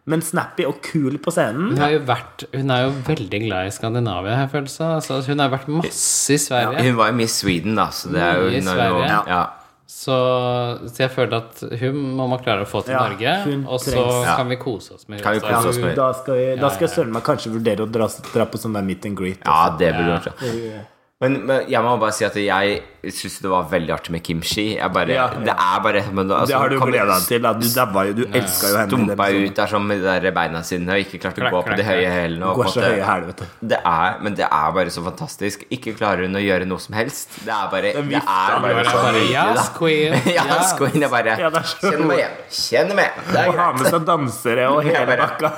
Speaker 1: Men snappy og kul på scenen.
Speaker 3: Hun, har jo vært, hun er jo veldig glad i Skandinavia, har jeg følelsen. Altså, hun har vært masse i Sverige.
Speaker 2: Hun var jo Miss Sweden, da, så det er jo
Speaker 3: Mye i
Speaker 2: hun har jo-
Speaker 3: Sverige.
Speaker 2: ja.
Speaker 3: Så, så jeg føler at hun må man klare å få til
Speaker 1: Ja,
Speaker 3: Norge.
Speaker 1: hun
Speaker 3: Og så
Speaker 1: trengs.
Speaker 2: Ja.
Speaker 3: kan vi kose oss med
Speaker 2: Kan vi
Speaker 3: Så
Speaker 2: kose
Speaker 3: hun-
Speaker 2: oss med-
Speaker 1: Da skal jeg, da skal jeg søren meg kanskje vurdere å dra, dra på sånn der meet and greet.
Speaker 2: ja, det burde vært det. Men, men jeg må bare si at jeg syns det var veldig artig med kimchi. Jeg bare,
Speaker 1: Ja.
Speaker 2: Det er bare men, da- altså,
Speaker 1: Det har du
Speaker 2: kom-
Speaker 1: gleda deg til. Da. Du dabba jo. Du elska jo henne. i den
Speaker 2: Dumpa
Speaker 1: episoden.
Speaker 2: ut der sånn med de der beina sine og ikke klarte å
Speaker 3: Klakk,
Speaker 2: gå på de
Speaker 3: klakk,
Speaker 2: høye
Speaker 3: klakk.
Speaker 2: hælene. og på
Speaker 1: Går
Speaker 2: en
Speaker 1: så
Speaker 2: måte-
Speaker 1: høye hæler, vet du.
Speaker 2: Det er, men det er bare så fantastisk. Ikke klarer hun å gjøre noe som helst. Det er bare, det
Speaker 1: vifta
Speaker 2: er
Speaker 1: med det.
Speaker 2: bare så
Speaker 3: Bare,
Speaker 2: nydelig,
Speaker 3: «Yes,
Speaker 2: sånn da.»
Speaker 3: queen,
Speaker 2: ja,
Speaker 3: yes.
Speaker 2: queen. Jeg bare
Speaker 1: Ja, det er så-
Speaker 2: Kjenn meg igjen. Kjenn meg. igjen.
Speaker 1: Og
Speaker 2: Det er
Speaker 1: ha med
Speaker 2: greit.
Speaker 1: seg dansere og
Speaker 2: Ja,
Speaker 1: hele
Speaker 2: bare-
Speaker 1: bakka.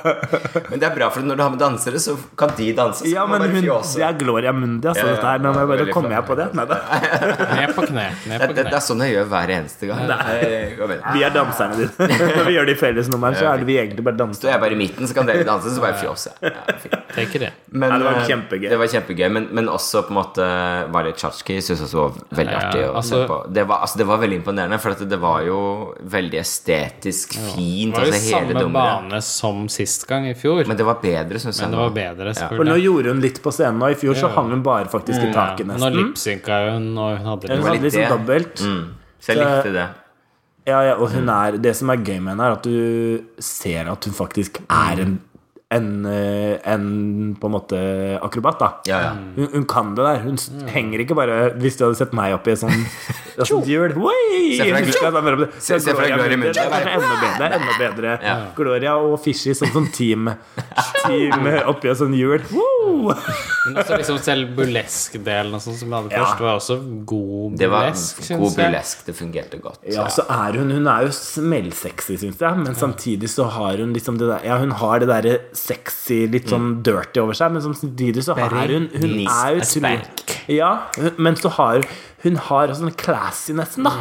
Speaker 2: Men det er bra, for når du har med dansere, så kan de danse. Så
Speaker 1: Ja,
Speaker 2: kan man
Speaker 1: men
Speaker 2: bare
Speaker 1: hun,
Speaker 2: fjåse.
Speaker 1: det er Gloria Mundi, altså,
Speaker 2: Ja, ja,
Speaker 1: dette her. Nå må jeg
Speaker 2: det er
Speaker 1: bare
Speaker 2: veldig
Speaker 1: komme jeg
Speaker 2: flott.
Speaker 1: på det. Nei, da.
Speaker 3: Ned på kne. Ned
Speaker 2: det,
Speaker 3: på
Speaker 2: det, det
Speaker 3: kne.
Speaker 2: er sånn jeg gjør hver eneste gang. Eh, kom igjen.
Speaker 1: Vi er danserne dine. Når vi gjør de fellesnummeren, så er det vi egentlig bare
Speaker 2: Så
Speaker 1: dansere.
Speaker 2: jeg er bare i midten, så kan dere danse, så bare fjåse. Ja, fint.
Speaker 3: Tenker det.
Speaker 2: Men,
Speaker 1: Ja, det var
Speaker 2: eh,
Speaker 1: kjempegøy.
Speaker 2: Det var kjempegøy Men, men også på en måte Valet Tsjatsjki syns jeg også var veldig
Speaker 3: Ja,
Speaker 2: artig å
Speaker 3: altså-
Speaker 2: se på. Det var, altså, det var veldig imponerende, for at det var jo veldig estetisk
Speaker 3: Det
Speaker 2: fint.
Speaker 3: var jo
Speaker 2: Altså, hele
Speaker 3: samme
Speaker 2: dummere.
Speaker 3: bane som sist gang, i fjor. Men
Speaker 2: Men det var bedre, syns jeg.
Speaker 3: det
Speaker 2: nå.
Speaker 3: var bedre,
Speaker 1: For nå
Speaker 3: spør du.
Speaker 1: gjorde hun litt på scenen, og i fjor så hang hun bare faktisk i
Speaker 3: Mm. Ja,
Speaker 1: taket,
Speaker 3: Nå
Speaker 1: nesten.
Speaker 3: lipsynka hun, og hun hadde
Speaker 1: Hun
Speaker 3: litt
Speaker 2: var
Speaker 1: hadde
Speaker 2: litt
Speaker 1: liksom
Speaker 2: det.
Speaker 1: dobbelt.
Speaker 2: Så jeg
Speaker 1: Så-
Speaker 2: likte det.
Speaker 1: Ja, ja, og hun
Speaker 2: Mm.
Speaker 1: er, det som er gøy med henne, er at du ser at hun faktisk er en, en, eh, en på en måte akrobat. da
Speaker 2: Ja, ja.
Speaker 1: hun, hun kan det der. Hun s- henger ikke bare Hvis du hadde sett meg oppi et sånt, et sånt sånn, hjul Oi!
Speaker 2: Se for deg Glo-
Speaker 1: Så er det
Speaker 2: Se- se for deg Gloria Mundi.
Speaker 1: Det er kanskje enda bedre. det er Enda bedre.
Speaker 2: Ja.
Speaker 1: Gloria og Fishy som sånn team, team oppi et sånt sånn hjul. Woo!
Speaker 3: Men også liksom selv burlesk-delen og sånn som vi hadde først, var også god
Speaker 2: Det var
Speaker 3: burlesk,
Speaker 2: god
Speaker 3: syns jeg.
Speaker 2: burlesk. Det fungerte godt.
Speaker 1: Ja, så er hun Hun er jo smellsexy, syns jeg, men samtidig så har hun liksom det der Ja, hun har det derre sexy, litt sånn dirty over seg, men samtidig så har hun Hun
Speaker 2: Nis-
Speaker 1: er utrolig Ja, hun- men så har hun har også en classy, nesten, da,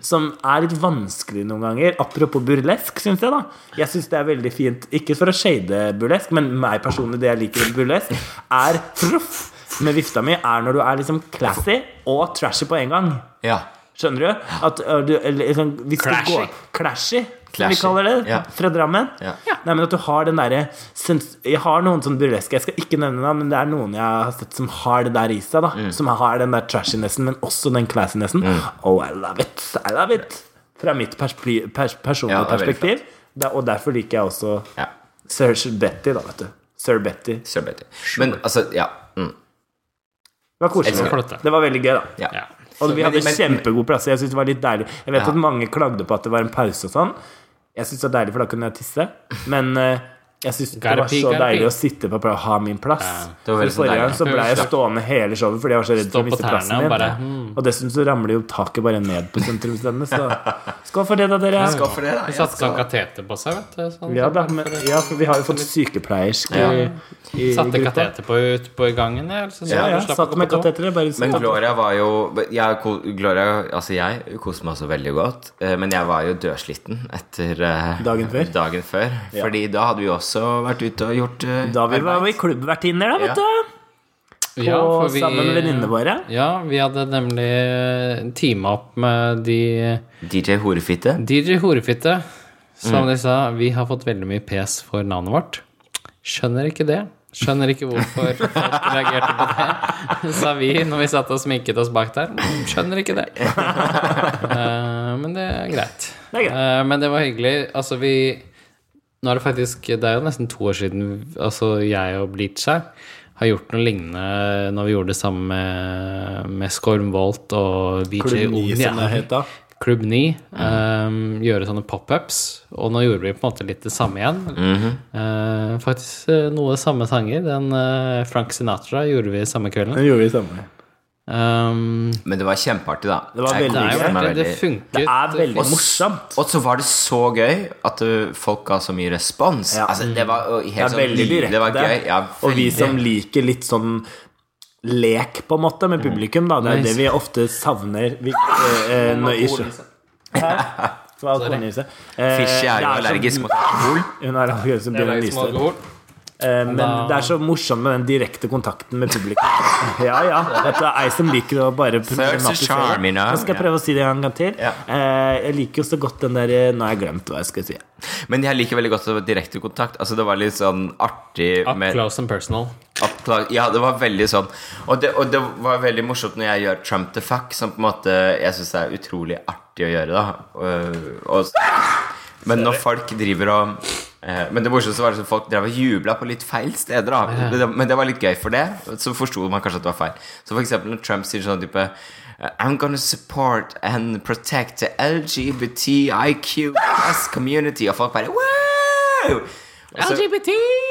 Speaker 1: som er litt vanskelig noen ganger. Apropos burlesk, syns jeg, da. Jeg syns det er veldig fint, ikke for å shade burlesk, men meg personlig, det jeg liker med burlesk, er froff med vifta mi, er når du er liksom classy og trashy på en gang.
Speaker 2: Ja.
Speaker 1: Skjønner du? At ø, du eller, liksom, hvis det
Speaker 3: Clashy.
Speaker 1: går- Clashy, som vi
Speaker 2: Clashy,
Speaker 1: kaller det.
Speaker 2: ja.
Speaker 1: Fra Drammen.
Speaker 2: Ja.
Speaker 1: Nei, men at du har den derre sens- Jeg har noen sånn burleske, jeg skal ikke nevne navn, men det er noen jeg har sett som har det der i seg. da
Speaker 2: Mm.
Speaker 1: Som har den der trashinessen, men også den classinessen. Oh, I love it! I love it! Fra mitt perspli- pers personlige
Speaker 2: Ja, det er veldig
Speaker 1: perspektiv. Da, og derfor liker jeg også
Speaker 2: Ja.
Speaker 1: Sir Betty, da, vet du. Sir Betty.
Speaker 2: Sir Betty. Men altså, ja. Mm,
Speaker 1: Det var
Speaker 2: Elsker
Speaker 1: koselig.
Speaker 3: det.
Speaker 1: Det var veldig gøy, da.
Speaker 2: ja.
Speaker 3: Ja.
Speaker 1: Og vi
Speaker 2: Altså, Men-
Speaker 1: hadde
Speaker 2: men-
Speaker 1: kjempegod plass. Jeg synes det var litt deilig Jeg vet
Speaker 2: Ja.
Speaker 1: at mange klagde på at det var en pause og sånn. Jeg synes det var deilig, for da kunne jeg tisse. Men eh, jeg synes det var
Speaker 3: Garpi,
Speaker 1: så
Speaker 3: garpi.
Speaker 1: deilig å sitte på pla- ha min plass. For
Speaker 2: det var veldig sånn
Speaker 1: Forrige gang
Speaker 2: deilig.
Speaker 1: så ble jeg stående hele showet fordi jeg var så redd
Speaker 3: Stå
Speaker 1: for å
Speaker 3: på
Speaker 1: miste
Speaker 3: tærne
Speaker 1: plassen
Speaker 3: og
Speaker 1: min.
Speaker 3: bare, hmm.
Speaker 1: Og dessuten så ramler jo taket bare ned på sentrumsstedene, så skål for det, da, dere.
Speaker 2: Skål for det, da.
Speaker 3: Hun
Speaker 2: Ja,
Speaker 3: satte sånn kateter på seg, vet du. Sånn,
Speaker 1: Ja, da, men, ja, for vi har jo fått sykepleiersk i, i
Speaker 3: Satte
Speaker 1: gruppa.
Speaker 3: kateter på ut på gangen, jeg. Altså, så
Speaker 1: Ja, ja,
Speaker 3: du slapp å
Speaker 1: satt
Speaker 3: gå
Speaker 1: med
Speaker 3: på do.
Speaker 1: kateteret. Bare
Speaker 2: Men
Speaker 1: satt-
Speaker 2: Gloria var jo jeg, ko- Gloria, altså jeg koste meg også veldig godt, eh, men jeg var jo dødsliten etter eh,
Speaker 1: Dagen før?
Speaker 2: Dagen før Fordi da hadde vi også vært ute og gjort eh,
Speaker 1: Da vi var
Speaker 2: arbeid.
Speaker 1: vi klubbvertinner, da, vet
Speaker 2: Ja.
Speaker 1: du.
Speaker 3: Ja,
Speaker 1: Og
Speaker 3: for vi-
Speaker 1: sammen med venninnene våre.
Speaker 3: Ja, vi hadde nemlig teama opp med de
Speaker 2: DJ Horefitte.
Speaker 3: DJ Horefitte.
Speaker 1: Mm.
Speaker 3: Som de sa, vi har fått veldig mye pes for navnet vårt. Skjønner ikke det. Skjønner ikke hvorfor folk reagerte på det, sa vi når vi satt og sminket oss bak der. Skjønner ikke det. Eh, men det er greit.
Speaker 1: Det er greit.
Speaker 3: Eh, men det var hyggelig. Altså, vi Nå er det faktisk Det er jo nesten to år siden altså, jeg og Bleach her har gjort noe lignende når vi gjorde det sammen med, med Skormvolt og BJ
Speaker 1: Klubb 9, som det
Speaker 3: Ovnia.
Speaker 1: het da.
Speaker 3: Klubb 9. ehm, gjøre sånne pop-ups. Og nå gjorde vi på en måte litt det samme igjen.
Speaker 1: Mhm.
Speaker 3: Eh, faktisk eh, noe samme sanger. Den eh, Frank Sinatra gjorde vi samme kvelden.
Speaker 1: Det gjorde vi samme.
Speaker 3: Ehm,
Speaker 2: Men det var kjempeartig, da.
Speaker 1: Det var
Speaker 2: Jeg
Speaker 1: veldig
Speaker 3: det, er
Speaker 2: koste
Speaker 3: jo,
Speaker 2: meg
Speaker 3: det, det
Speaker 2: veldig.
Speaker 3: funket.
Speaker 1: Det er veldig
Speaker 2: Og s-
Speaker 1: morsomt.
Speaker 2: Og så var det så gøy at uh, folk ga så mye respons.
Speaker 1: Ja.
Speaker 2: Altså, det var jo
Speaker 1: Det
Speaker 2: helt
Speaker 1: er
Speaker 2: sånn
Speaker 1: veldig
Speaker 2: liv.
Speaker 1: direkte.
Speaker 2: Det var gøy. Ja,
Speaker 1: og vi
Speaker 2: veldig.
Speaker 1: som liker litt sånn lek, på en måte,
Speaker 2: Mm.
Speaker 1: med publikum, da. Det er det vi ofte savner vi, eh, eh, når i show. Det var alkoholnise. Eh,
Speaker 2: Fishy er jo
Speaker 1: det så-
Speaker 2: allergisk mot alkohol.
Speaker 1: Hun er allergisk som begynner å
Speaker 3: Allergisk mot
Speaker 1: nyse.
Speaker 3: alkohol.
Speaker 1: Eh, Men det er så morsomt med den direkte kontakten med publikum. Ja, ja. Dette er ei som liker å bare problematisere.
Speaker 2: charming, ja.
Speaker 1: Nå skal jeg prøve å si det en gang til.
Speaker 2: Ja.
Speaker 1: Eh, Jeg liker jo så godt den der eh, Nå har jeg glemt hva jeg skulle si.
Speaker 2: Men jeg liker veldig godt at det var direkte kontakt. Altså, det var litt sånn artig
Speaker 3: Up
Speaker 2: med
Speaker 3: close and personal.
Speaker 2: up close. Ja, det var veldig sånn. Og det, og det var veldig morsomt når jeg gjør Trump the fuck, som på en måte jeg syns er utrolig artig å gjøre, da. Og, og, men når folk driver og eh, men det morsomste var at folk drev og jubla på litt feil steder. Da. Det- Men det var litt gøy for det. Så forsto man kanskje at det var feil. Så for eksempel når Trump sier sånn type I'm gonna support and protect the LGBTIQS community. Og folk bare wow! Og
Speaker 1: Altså-
Speaker 2: så-
Speaker 3: LGBT!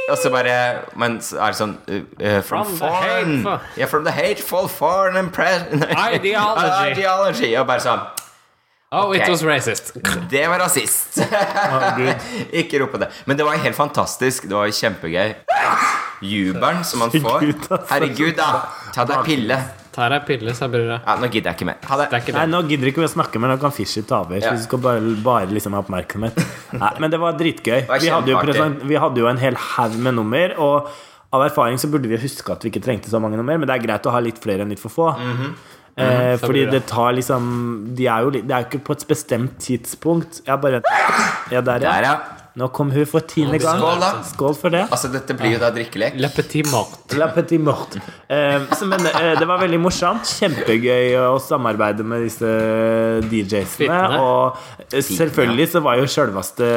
Speaker 2: og så bare Men så er det sånn uh, uh, From,
Speaker 3: From the
Speaker 2: foreign
Speaker 3: hateful-
Speaker 2: Yeah, from the hateful foreign impre- nei,
Speaker 3: Ideology.
Speaker 2: ideology. Og bare sånn
Speaker 3: Oh,
Speaker 2: Ok.
Speaker 3: it was racist.
Speaker 2: Det var rasist! Ikke rop på det. Men det var helt fantastisk. Det var kjempegøy. Jubelen som man får.
Speaker 1: Herregud, altså.
Speaker 2: Herregud, da! Ta deg pille.
Speaker 3: Tar ei pille, sa brura.
Speaker 2: Ja, nå gidder jeg ikke mer. Ha
Speaker 3: Det
Speaker 2: det.
Speaker 3: er ikke
Speaker 1: Nei,
Speaker 3: det.
Speaker 1: nå gidder ikke vi å snakke, men nå kan Fishy ta over.
Speaker 2: Ja.
Speaker 1: Så vi skal bare, bare liksom ha oppmerksomhet. Nei, men det var dritgøy.
Speaker 2: var
Speaker 1: Vi hadde jo,
Speaker 2: kjempeartig.
Speaker 1: present, vi hadde jo en hel haug med nummer, og av erfaring så burde vi huske at vi ikke trengte så mange nummer, men det er greit å ha litt flere enn litt for få.
Speaker 2: Mhm.
Speaker 1: eh, fordi
Speaker 3: bra.
Speaker 1: det tar liksom de er jo, litt- Det er jo ikke på et bestemt tidspunkt. Jeg bare Ja, der,
Speaker 2: Der,
Speaker 1: ja.
Speaker 2: ja.
Speaker 1: Nå kom hun for tiende gang.
Speaker 2: Skål, da.
Speaker 1: Skål for det.
Speaker 2: Altså, dette blir jo da drikkelek.
Speaker 3: Le petit mort.
Speaker 1: La petite morte. Eh, så, men eh, det var veldig morsomt. Kjempegøy å samarbeide med disse
Speaker 3: Fittene.
Speaker 1: DJ-ene. Og eh, selvfølgelig så var jo sjølveste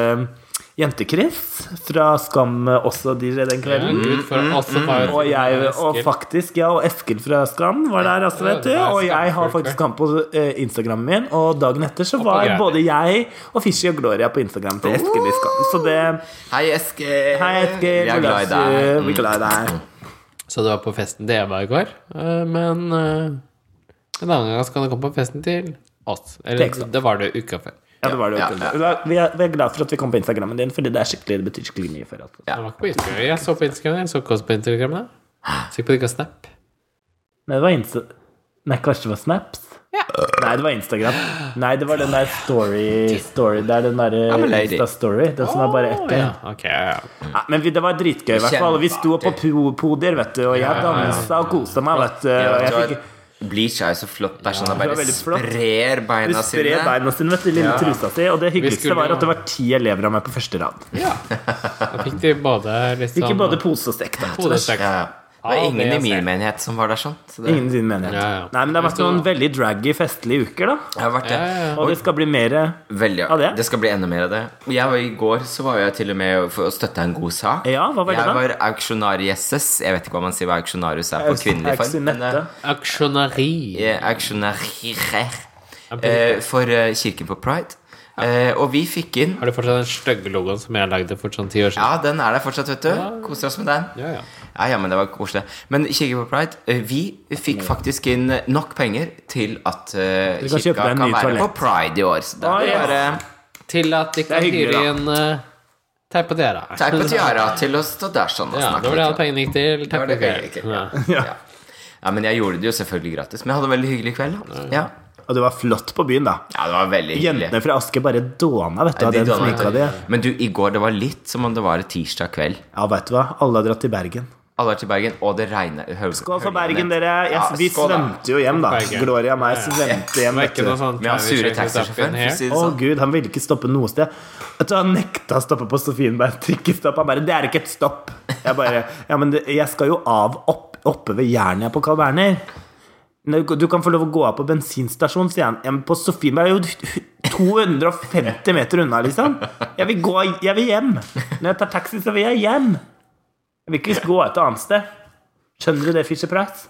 Speaker 1: Jente-Chris fra Skam eh, også DJ den kvelden.
Speaker 3: Gud, for oss som var
Speaker 1: Mm, Og, jeg, og faktisk, ja, og Eskil fra Skam var der også, vet du. Og jeg har faktisk han på eh, Instagramen min, og dagen etter så var
Speaker 3: greier.
Speaker 1: både jeg og Fishy og Gloria på Instagram til Eskil i Skam. Så det
Speaker 2: Hei, Eskil.
Speaker 1: Hei, Eskil.
Speaker 2: Vi er glad i deg.
Speaker 1: eh,
Speaker 2: Mm.
Speaker 1: Vi er glad i deg.
Speaker 3: Så det var på festen det var i går. Eh, Men eh, en annen gang skal du komme på festen til oss. Eller
Speaker 1: Tekst, da.
Speaker 3: det var det uka før.
Speaker 1: Ja, det var det jo
Speaker 2: Ja,
Speaker 1: ikke.
Speaker 2: ja.
Speaker 1: Vi er- Vi, er, vi er glad for at vi kom på Instagrammen din, fordi det, er skikkelig, det betyr skikkelig mye for oss.
Speaker 2: Ja.
Speaker 3: Det var ikke på Instagram. Jeg så på Instagram. Jeg så ikke oss på Instagram. da. Sikkert på ikke Snap.
Speaker 1: Nei, det var Insta... Nei, kanskje det var Snaps? Nei, det var Instagram. Nei, det var den der story, story Det er den
Speaker 2: I'm a
Speaker 1: derre
Speaker 2: lady.
Speaker 1: Insta-story. Den som er bare ett
Speaker 3: Ja,
Speaker 1: tegn.
Speaker 3: ok. ja, ja.
Speaker 1: Nei, Men vi- det var dritgøy, i hvert fall. Vi sto på po- podier, vet du, og jeg dansa og kosa meg, vet du. Og jeg fikk
Speaker 2: Bleach er jo så flott. Det er sånn
Speaker 1: det
Speaker 2: at bare
Speaker 1: er veldig flott.
Speaker 2: sprer
Speaker 1: Du
Speaker 2: beina sine.
Speaker 1: sprer beina sine, vet du, lille
Speaker 2: Ja.
Speaker 1: trusa si. Og det hyggeligste
Speaker 3: skulle
Speaker 1: var
Speaker 3: jo-
Speaker 1: at det var ti elever av meg på første rad.
Speaker 3: Ja. Da fikk de både litt sånn
Speaker 1: Ikke både pose og sekk, da.
Speaker 3: hodesjekk.
Speaker 2: Ja, ja. Det var
Speaker 3: Ja,
Speaker 2: ingen
Speaker 3: det
Speaker 2: i
Speaker 3: er
Speaker 2: min
Speaker 3: sant.
Speaker 2: menighet som var der sånn. Så det,
Speaker 1: Ingen sin menighet.
Speaker 3: Ja, ja.
Speaker 1: Nei, men det har vært
Speaker 3: Vet du
Speaker 1: noen
Speaker 3: hva?
Speaker 1: veldig draggy festlige uker, da.
Speaker 2: det har vært det.
Speaker 3: Ja, ja, ja.
Speaker 1: Og det skal bli mer
Speaker 2: Veldig,
Speaker 1: Ja, det?
Speaker 2: det? skal bli enda mer av det. Jeg var, I går så var jeg til og med for å støtte en god sak.
Speaker 1: Ja, hva var det
Speaker 2: jeg
Speaker 1: da?
Speaker 2: var auksjonarieses. Jeg vet ikke hva man sier hva auksjonarius er på kvinnelig form. men,
Speaker 1: Auksjonette.
Speaker 3: Aksjonari.
Speaker 2: eh, Auksjonarier. Eh, for eh, Kirken på Pride. Eh, og vi fikk inn
Speaker 3: Har du fortsatt den stygge logoen som jeg lagde for sånn ti år siden?
Speaker 2: Ja, den er der fortsatt, vet du. Koser oss med den.
Speaker 3: Ja, ja.
Speaker 2: Ja, ja, men det var koselig. Men Kirken på Pride, eh, vi fikk faktisk inn eh, nok penger til at eh,
Speaker 1: Du kan kjøpe
Speaker 2: kirka
Speaker 1: deg en
Speaker 2: kan
Speaker 1: ny
Speaker 2: være
Speaker 1: toalett.
Speaker 2: på Pride i år. Så da
Speaker 1: Ah,
Speaker 2: er det
Speaker 1: yes.
Speaker 2: bare
Speaker 3: Til at de kan
Speaker 1: hyggelig,
Speaker 3: hyre
Speaker 1: da.
Speaker 3: inn uh, teip på dere.
Speaker 2: Teip på tiara til å stå der sånn og
Speaker 3: Ja, det var
Speaker 2: snakke
Speaker 3: det
Speaker 2: litt.
Speaker 3: alle pengene gikk til.
Speaker 2: var det
Speaker 3: Teip
Speaker 2: pengene gikk
Speaker 3: på
Speaker 2: til,
Speaker 3: dere. Ja.
Speaker 2: Ja. ja, men jeg gjorde det jo selvfølgelig gratis. Men jeg hadde en veldig hyggelig kveld. da. Ja,
Speaker 1: Og det var flott på byen, da.
Speaker 2: ja det var veldig hyggelig.
Speaker 1: Jentene fra Aske bare dåna, vet du. av
Speaker 2: De
Speaker 1: den
Speaker 2: donna-
Speaker 1: sminka di.
Speaker 2: Men du, i går det var litt som om det var tirsdag kveld.
Speaker 1: Ja, vet du hva. Alle har dratt til Bergen.
Speaker 2: Alle er til Bergen, og det regner høl-
Speaker 1: Skål for
Speaker 2: høljer
Speaker 1: Bergen,
Speaker 2: ned.
Speaker 1: dere. Jeg,
Speaker 2: Ja,
Speaker 1: vi
Speaker 2: skål, da.
Speaker 1: svømte jo hjem, da.
Speaker 3: Bergen.
Speaker 1: Gloria og meg svømte hjem.
Speaker 3: Det var
Speaker 1: Vet
Speaker 3: ikke noe
Speaker 1: du.
Speaker 3: sånn
Speaker 2: Med han sure
Speaker 3: «Can we check this up in
Speaker 2: taxisjåføren, for
Speaker 3: here?»
Speaker 2: å si det
Speaker 1: Å
Speaker 2: sånn.
Speaker 1: gud, han ville ikke stoppe noe sted. Vet du, Han nekta å stoppe på Sofienberg trikkestopp. Han bare 'Det er ikke et stopp'. Jeg bare Ja, men det, jeg skal jo av opp, oppe ved Jernia på Carl Berner. «Nei, Du kan få lov å gå av på bensinstasjonen, sier han. Ja, men på Sofienberg er jo 250 meter unna, liksom. Jeg vil gå Jeg vil hjem. Når jeg tar taxi, så vil jeg hjem. Jeg vil ikke gå et annet sted. Skjønner du det, Fisher Price?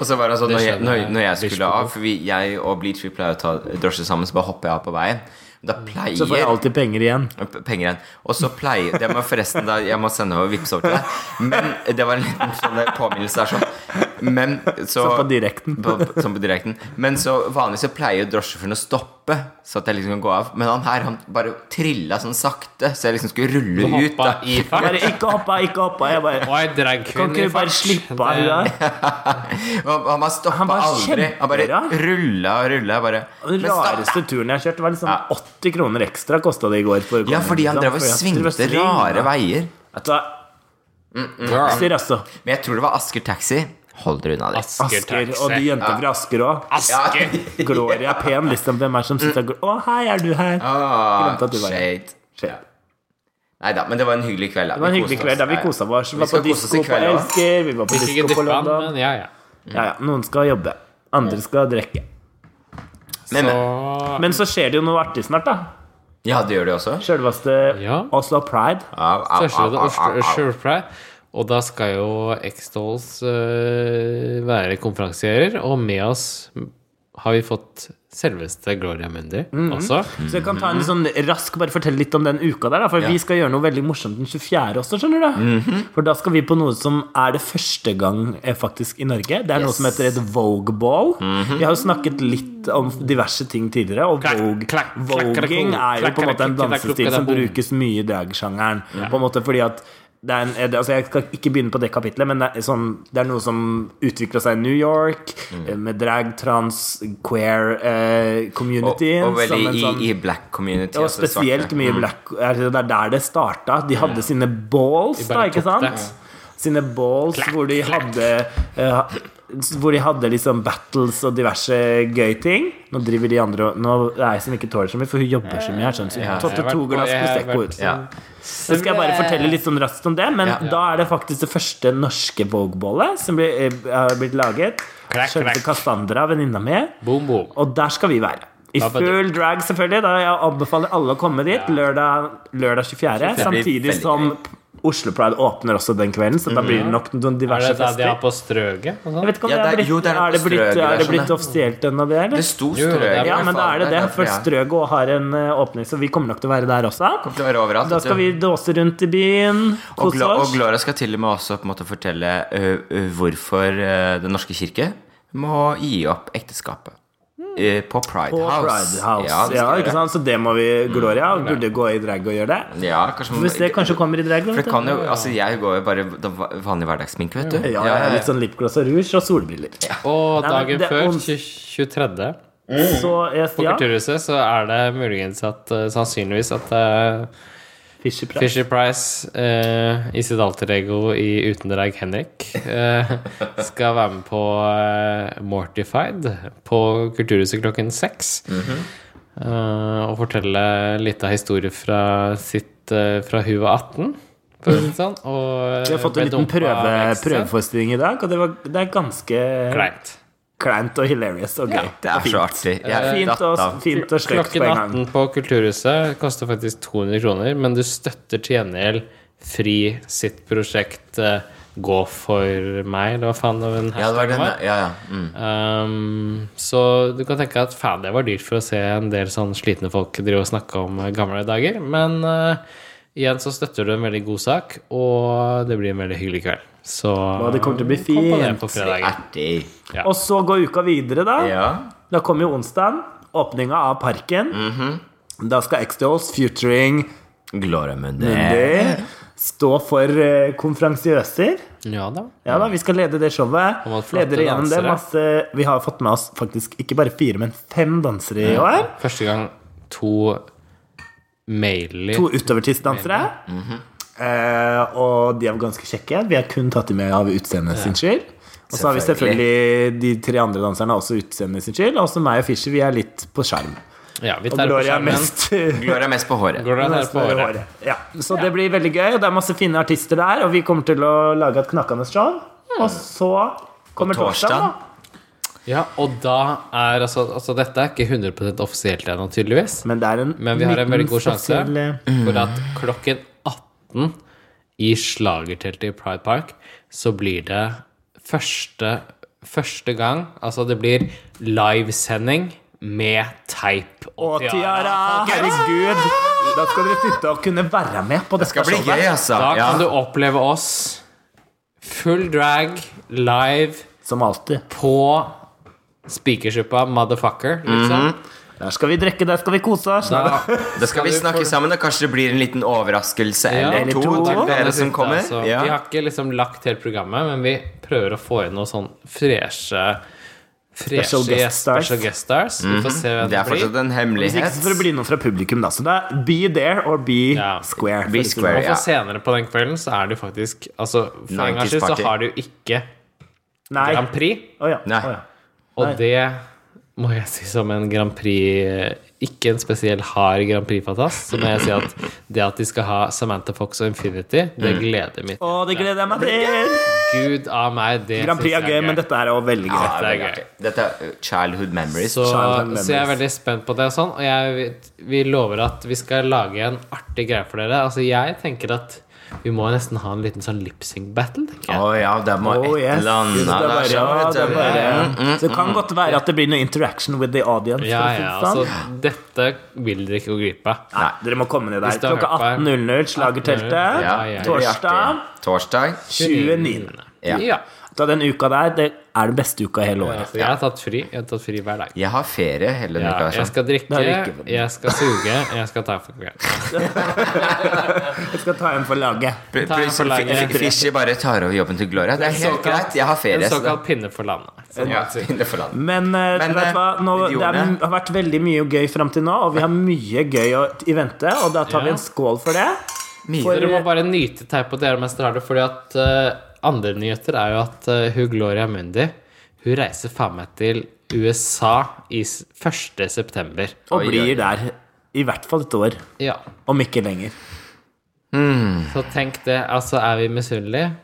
Speaker 2: Og så var det sånn når jeg, når,
Speaker 3: skjønner jeg.
Speaker 2: når jeg
Speaker 3: Bleach
Speaker 2: skulle av For vi, jeg og Bleach vi pleier å ta drosje sammen, så bare hopper jeg av på veien. Da pleier
Speaker 1: Mm. Så får jeg alltid penger igjen.
Speaker 2: P- penger igjen. Og så pleier Det må jeg forresten da, Jeg må sende over vips over til deg. Men det var en liten sånn påminnelse der, sånn. Men så
Speaker 1: Sånn på direkten.
Speaker 2: På, på- sånn på direkten. Men så vanligvis så pleier jo drosjesjåføren å stoppe, så at jeg liksom kan gå av. Men han her, han bare trilla sånn sakte, så jeg liksom skulle rulle
Speaker 3: Du
Speaker 2: ut. Da.
Speaker 3: hoppa i fart.
Speaker 1: Bare ikke hoppa, ikke hoppa. Jeg bare
Speaker 3: Og ei
Speaker 1: Kan
Speaker 3: dragkvinne
Speaker 1: ikke
Speaker 3: i
Speaker 1: du bare
Speaker 3: fart.
Speaker 1: slippe av det der?
Speaker 2: Han, han bare stoppa
Speaker 1: Han bare
Speaker 2: aldri. Han bare
Speaker 1: kjemper, ja.
Speaker 2: rulla og rulla. Bare.
Speaker 1: Den
Speaker 2: Men stopp.
Speaker 1: rareste turen jeg har kjørt, var liksom
Speaker 2: Ja.
Speaker 1: 80 kroner ekstra kosta det i går. For å
Speaker 2: Ja,
Speaker 1: komme,
Speaker 2: fordi han
Speaker 1: liksom,
Speaker 2: drev og
Speaker 1: for jeg drev
Speaker 2: svingte rare veier.
Speaker 1: Vet du hva, jeg sier altså
Speaker 2: Men jeg tror det var Asker Taxi. Hold dere unna det.
Speaker 3: Asker,
Speaker 1: Asker, og de
Speaker 3: taxi.
Speaker 1: jentene fra Asker òg.
Speaker 3: Asker.
Speaker 1: Gloria Pen, liksom. Hvem er det som sitter og går Å, hei, er du her?
Speaker 2: Ah,
Speaker 1: Glemte at du var her.
Speaker 2: shade.
Speaker 1: Shit.
Speaker 2: Nei da, men det var en hyggelig kveld. Da.
Speaker 1: Det var en
Speaker 2: Vi
Speaker 1: hyggelig
Speaker 2: koste oss.
Speaker 1: kveld der vi
Speaker 2: Ja, ja.
Speaker 1: kosa oss. Vi
Speaker 2: Vi
Speaker 1: var på
Speaker 2: skal kose oss i
Speaker 1: disko på
Speaker 2: kveld, da.
Speaker 1: Elsker, vi var på
Speaker 3: Ikke
Speaker 1: disko på
Speaker 3: dyppa,
Speaker 1: London.
Speaker 3: men ja, ja.
Speaker 1: Ja, ja, noen skal jobbe. Andre skal drikke.
Speaker 2: Men, men.
Speaker 3: Så
Speaker 1: Men så skjer det jo noe artig snart, da.
Speaker 2: Ja, det gjør det også.
Speaker 1: Sjølveste
Speaker 3: Ja.
Speaker 1: Oslo Pride.
Speaker 2: Au, au,
Speaker 3: Første
Speaker 2: au,
Speaker 3: det
Speaker 2: au, au,
Speaker 3: Oslo-
Speaker 2: au.
Speaker 3: Surfry. Og da skal jo X-Dolls øh, være konferansierer, og med oss har vi fått selveste Gloria Mundi
Speaker 1: Mhm.
Speaker 3: også.
Speaker 1: Så jeg kan ta en litt sånn rask bare fortelle litt om den uka der, da, for vi skal gjøre noe veldig morsomt den 24. også, skjønner du.
Speaker 2: Mhm.
Speaker 1: For da skal vi på noe som er det første gang eh, faktisk i Norge. Det er noe
Speaker 2: Yes. Mhm.
Speaker 1: som heter et Vogue Ball. Vi har jo snakket litt om diverse ting tidligere, og
Speaker 3: Klakk,
Speaker 1: Vogue,
Speaker 3: klakk, klakk,
Speaker 1: voging
Speaker 3: klakk,
Speaker 1: er jo på en
Speaker 3: klakk,
Speaker 1: måte en
Speaker 3: klakk, klakk,
Speaker 1: dansestil
Speaker 3: klakk,
Speaker 1: som
Speaker 3: klakk,
Speaker 1: brukes mye i dragsjangeren, på en måte fordi at det er en, eh, det- altså jeg skal ikke begynne på det kapitlet, men det er, sånn, det er noe som utvikla seg i New York, eh, med drag, trans, queer eh,
Speaker 2: Mm. Og,
Speaker 1: communityen.
Speaker 2: og veldig
Speaker 1: som en
Speaker 2: i,
Speaker 1: sånn-
Speaker 2: i black community.
Speaker 1: og
Speaker 2: altså
Speaker 1: spesielt
Speaker 2: svarte.
Speaker 1: mye black altså, Det er der det starta. De hadde sine balls,
Speaker 3: De
Speaker 1: da,
Speaker 3: bare
Speaker 1: ikke
Speaker 3: tok
Speaker 1: sant?
Speaker 3: det.
Speaker 1: Sine balls hvor de hadde eh, Hvor de hadde liksom battles og diverse gøy ting. Nå driver de andre og Nå er Eisin ikke tåler så mye, for hun jobber så mye her. Sånn, så hun
Speaker 3: Jeg har
Speaker 1: tatt to
Speaker 3: vært-
Speaker 1: glass
Speaker 3: jeg har
Speaker 1: Prosecco
Speaker 3: vært
Speaker 1: ut.
Speaker 2: Ja.
Speaker 1: Så skal jeg bare fortelle litt sånn raskt om det, men
Speaker 2: Ja.
Speaker 1: da er det faktisk det første norske Vogue-bollet som blir, eh, har blitt laget.
Speaker 3: Klakk,
Speaker 1: Skjønte
Speaker 3: klakk.
Speaker 1: Cassandra, venninna mi.
Speaker 3: Boom, boom.
Speaker 1: Og der skal vi være. I
Speaker 3: Da bare-
Speaker 1: full drag, selvfølgelig. Da jeg anbefaler alle å komme dit lørdag, lørdag 24.
Speaker 2: Det blir
Speaker 1: Samtidig
Speaker 2: veldig
Speaker 1: som Oslo Pride åpner også den kvelden, så da blir det nok noen
Speaker 3: Mhm. Er
Speaker 1: diverse
Speaker 3: det da de har
Speaker 1: fester.
Speaker 3: på strøget? og sånn?
Speaker 1: Jeg vet ikke om
Speaker 2: Ja,
Speaker 1: det er
Speaker 2: det er-
Speaker 1: blitt,
Speaker 2: jo, det er
Speaker 1: er,
Speaker 2: noe
Speaker 1: det blitt,
Speaker 2: strøget
Speaker 1: er
Speaker 2: der,
Speaker 1: det blitt
Speaker 2: skjønner jeg.
Speaker 1: offisielt ennå, det,
Speaker 2: Det
Speaker 1: eller?
Speaker 2: sto
Speaker 3: Jo, det er
Speaker 2: strøk.
Speaker 3: bra.
Speaker 1: Ja, men da er det det. For
Speaker 2: strøk
Speaker 1: Strøget også har en eh, åpning, så vi kommer nok til å være der også.
Speaker 2: Det var overalt.
Speaker 1: Da skal vi dåse rundt i byen,
Speaker 2: og,
Speaker 1: kose
Speaker 2: Glo og
Speaker 1: oss.
Speaker 2: Gloria skal til og med også på en måte fortelle ø, ø, hvorfor ø, Den norske kirke må gi opp ekteskapet. Ø, på Pride
Speaker 1: Hmm. På
Speaker 2: House.
Speaker 1: Pride House. Ja,
Speaker 2: det skal vi
Speaker 1: ikke
Speaker 2: gjøre.
Speaker 1: sant? Så det må vi Gloria
Speaker 3: Mm,
Speaker 1: burde gå i drag og gjøre det.
Speaker 2: Ja, kanskje man-
Speaker 1: Hvis det kanskje kommer i drag.
Speaker 2: For
Speaker 1: vet
Speaker 2: det
Speaker 1: du.
Speaker 2: kan jo, altså Jeg går jo bare da- vanlig hverdagssminke, vet du.
Speaker 1: Ja, ja, litt sånn lipgloss og rouge og solbriller.
Speaker 3: Og
Speaker 1: Nei, men
Speaker 3: dagen
Speaker 1: det er
Speaker 3: før,
Speaker 1: ons-
Speaker 3: 20- 23.
Speaker 1: Så jeg,
Speaker 3: på
Speaker 1: ja,
Speaker 3: Kulturhuset, så er det muligens at eh, sannsynligvis at eh,
Speaker 1: Fisher Price.
Speaker 3: Fisher Price eh, i sitt alter ego i Utendrag Henrik eh, skal være med på eh, Mortified på Kulturhuset klokken seks.
Speaker 1: Mhm.
Speaker 3: eh, og fortelle litt av historie fra sitt eh, fra hun var 18, for å si det sånn. Og
Speaker 1: Vi har fått en liten prøve, prøveforestilling i dag, og det, var, det er ganske
Speaker 3: Kleint.
Speaker 1: kleint og hilarious og gøy. Eh,
Speaker 2: Det er så artig. Jeg
Speaker 1: Fint
Speaker 2: datt
Speaker 1: og,
Speaker 2: av.
Speaker 1: fint og stygt
Speaker 3: Klokken
Speaker 1: på en gang.
Speaker 3: 18 på Kulturhuset koster faktisk 200 kroner, men du støtter til gjengjeld Fri sitt prosjekt eh, Gå for meg, eller hva faen det var en
Speaker 2: Ja, det var
Speaker 3: hashtag
Speaker 2: den,
Speaker 3: var.
Speaker 2: ja, ja. Mm.
Speaker 3: Um, så du kan tenke at faen, det var dyrt for å se en del sånn slitne folk drive og snakke om eh, gamle dager. Men eh, igjen så støtter du en veldig god sak, og det blir en veldig hyggelig kveld. Så
Speaker 1: Og det kommer til å bli
Speaker 3: kom på det
Speaker 1: fint.
Speaker 3: på fredagen.
Speaker 2: Artig.
Speaker 3: Ja.
Speaker 1: Og så går uka videre, da.
Speaker 2: Ja.
Speaker 1: Da kommer jo onsdagen. Åpninga av Parken. Da skal Extols featuring
Speaker 2: Gloria Mundi.
Speaker 1: Mundi stå for eh, konferansiøser.
Speaker 3: Ja da.
Speaker 1: Ja da, vi skal lede det showet.
Speaker 3: Og flotte
Speaker 1: Leder gjennom det
Speaker 3: dansere.
Speaker 1: masse Vi har fått med oss faktisk ikke bare fire, men fem dansere i år.
Speaker 3: Første gang to mailer
Speaker 1: To utovertidsdansere. eh, og de er ganske kjekke. Vi har kun tatt dem med av utseendet sin skyld. Og så har vi selvfølgelig de tre andre danserne har også utseendet sin skyld. Og også meg og Fischer, vi er litt på sjarm.
Speaker 3: Ja, vi
Speaker 1: Og
Speaker 3: tar det på
Speaker 1: Gloria er
Speaker 3: skjermen.
Speaker 1: mest
Speaker 2: Gloria er mest på håret.
Speaker 3: Går det her
Speaker 1: mest
Speaker 3: på
Speaker 1: med
Speaker 3: håret?
Speaker 1: håret. Ja. Så det blir veldig gøy, og det er masse fine artister der. Og vi kommer til å lage et knakkende show. Og så kommer
Speaker 2: På
Speaker 1: torsdag,
Speaker 2: torsdag.
Speaker 1: da.
Speaker 3: Ja, og da er altså, altså Dette er ikke 100 offisielt ennå, tydeligvis.
Speaker 1: Men det er en
Speaker 3: Men vi har en
Speaker 1: liten
Speaker 3: veldig god sjanse
Speaker 1: spesiell-
Speaker 3: for at klokken 18 i slagerteltet i Pride Park så blir det første, første gang Altså, det blir livesending med teip
Speaker 1: Og tiara! Herregud! Da skal dere sitte og kunne være med på dette
Speaker 2: Det blir gøy, altså.
Speaker 3: Da
Speaker 2: Ja.
Speaker 3: kan du oppleve oss full drag live
Speaker 1: Som alltid.
Speaker 3: på Spikersuppa, motherfucker, liksom.
Speaker 1: Der skal vi drikke, der skal vi kose oss.
Speaker 3: Da
Speaker 2: Da skal vi snakke sammen, og kanskje det blir en liten overraskelse eller
Speaker 1: eller
Speaker 2: to.
Speaker 1: to.
Speaker 2: til
Speaker 1: Da kan
Speaker 2: dere
Speaker 3: det
Speaker 2: som
Speaker 3: sitte,
Speaker 2: kommer.
Speaker 3: altså. Vi
Speaker 2: Ja.
Speaker 3: har ikke liksom lagt helt programmet, men vi prøver å få inn noen sånn freshe freshe
Speaker 1: Special guest
Speaker 3: gjest-
Speaker 1: stars.
Speaker 3: special guest stars. Vi får se hvem
Speaker 2: Mm. Det
Speaker 3: det
Speaker 2: er
Speaker 3: blir.
Speaker 2: fortsatt en
Speaker 1: Hvis ikke
Speaker 2: hemmelighet.
Speaker 1: så får det bli noe fra publikum, da. Så det er be there or be
Speaker 3: Ja.
Speaker 1: square.
Speaker 2: Be square,
Speaker 1: sånn.
Speaker 3: Og
Speaker 2: ja.
Speaker 3: for senere på den kvelden så er det jo faktisk Altså, for en gangs skyld så
Speaker 2: 90s-party.
Speaker 3: har du ikke
Speaker 1: Nei.
Speaker 3: Grand Prix,
Speaker 1: Å ja.
Speaker 2: Nei.
Speaker 1: Å ja.
Speaker 3: og det må jeg si som en Grand Prix eh, Ikke en spesiell hard Grand Prix-fantast, så må jeg si at det at de skal ha Samantha Fox og Infinity,
Speaker 2: Mm.
Speaker 3: det gleder mitt.
Speaker 1: Å, det gleder jeg meg til!
Speaker 3: Gud av meg, det
Speaker 1: Grand Prix
Speaker 3: synes
Speaker 1: er
Speaker 3: jeg
Speaker 1: gøy, men dette er også veldig gøy.
Speaker 2: Ja, det er
Speaker 3: Det er
Speaker 2: veldig artig. Dette er uh, childhood memories.
Speaker 3: Så,
Speaker 1: Childhood memories.
Speaker 3: så jeg er veldig spent på det. Og, sånn, og jeg, vet- vi lover at vi skal lage en artig greie for dere. Altså Jeg tenker at vi må nesten ha en liten sånn lipsync battle. tenker
Speaker 2: Å
Speaker 3: jeg.
Speaker 2: ja, det må
Speaker 1: Oh,
Speaker 2: et
Speaker 1: yes.
Speaker 2: eller annet
Speaker 1: Det er bare,
Speaker 2: der,
Speaker 1: ja,
Speaker 2: skjønner du.
Speaker 1: det er
Speaker 2: Mm,
Speaker 1: bare. Så det kan godt være at det blir noe interaction with the audience.
Speaker 3: Ja,
Speaker 1: for å si det
Speaker 3: ja,
Speaker 1: sånn.
Speaker 3: altså Dette vil dere ikke gå glipp av.
Speaker 1: Nei, dere må komme ned der.
Speaker 3: Hvis du har
Speaker 1: Klokka
Speaker 3: hørt på her.
Speaker 1: 18.00 slager teltet.
Speaker 2: Ja,
Speaker 3: ja.
Speaker 2: det blir artig.
Speaker 1: Torsdag.
Speaker 2: Torsdag.
Speaker 1: 29.
Speaker 2: Ja.
Speaker 3: Ja.
Speaker 1: Så den uka der det er den beste uka i hele året.
Speaker 3: Altså, jeg har tatt fri. Jeg har tatt fri hver dag.
Speaker 2: Jeg har ferie hele denne
Speaker 3: Ja,
Speaker 2: uka.
Speaker 3: jeg
Speaker 2: sånn.
Speaker 3: skal drikke,
Speaker 1: Det er ikke-
Speaker 3: jeg skal suge, jeg skal ta for kveld.
Speaker 1: Jeg skal ta en for laget.
Speaker 2: Pl-
Speaker 3: Ta en for
Speaker 2: Plutselig
Speaker 3: laget.
Speaker 2: F- Fischer bare tar over jobben til Gloria. Det er helt greit. Jeg har
Speaker 3: En
Speaker 2: ferie. så da-
Speaker 3: såkalt pinne for landet. Så
Speaker 2: Ja, det får lande.
Speaker 1: Men, eh,
Speaker 2: Men,
Speaker 1: vet du hva? Nå,
Speaker 2: eh,
Speaker 1: det er,
Speaker 2: idiotene.
Speaker 1: har vært veldig mye gøy fram til nå, og vi har mye gøy å, i vente. Og da tar vi
Speaker 3: Ja.
Speaker 1: en skål for det.
Speaker 2: Mye.
Speaker 1: For,
Speaker 3: Dere må bare nyte teip og dere mens dere har det, fordi at eh, andre nyheter er jo at eh, hun Gloria Mundi Hun reiser faen meg til USA i s- 1. september.
Speaker 1: og
Speaker 2: Oi,
Speaker 1: blir
Speaker 2: oi.
Speaker 1: der i hvert fall et år,
Speaker 3: Ja,
Speaker 1: om ikke lenger.
Speaker 3: så tenk det. Altså, er vi misunnelige?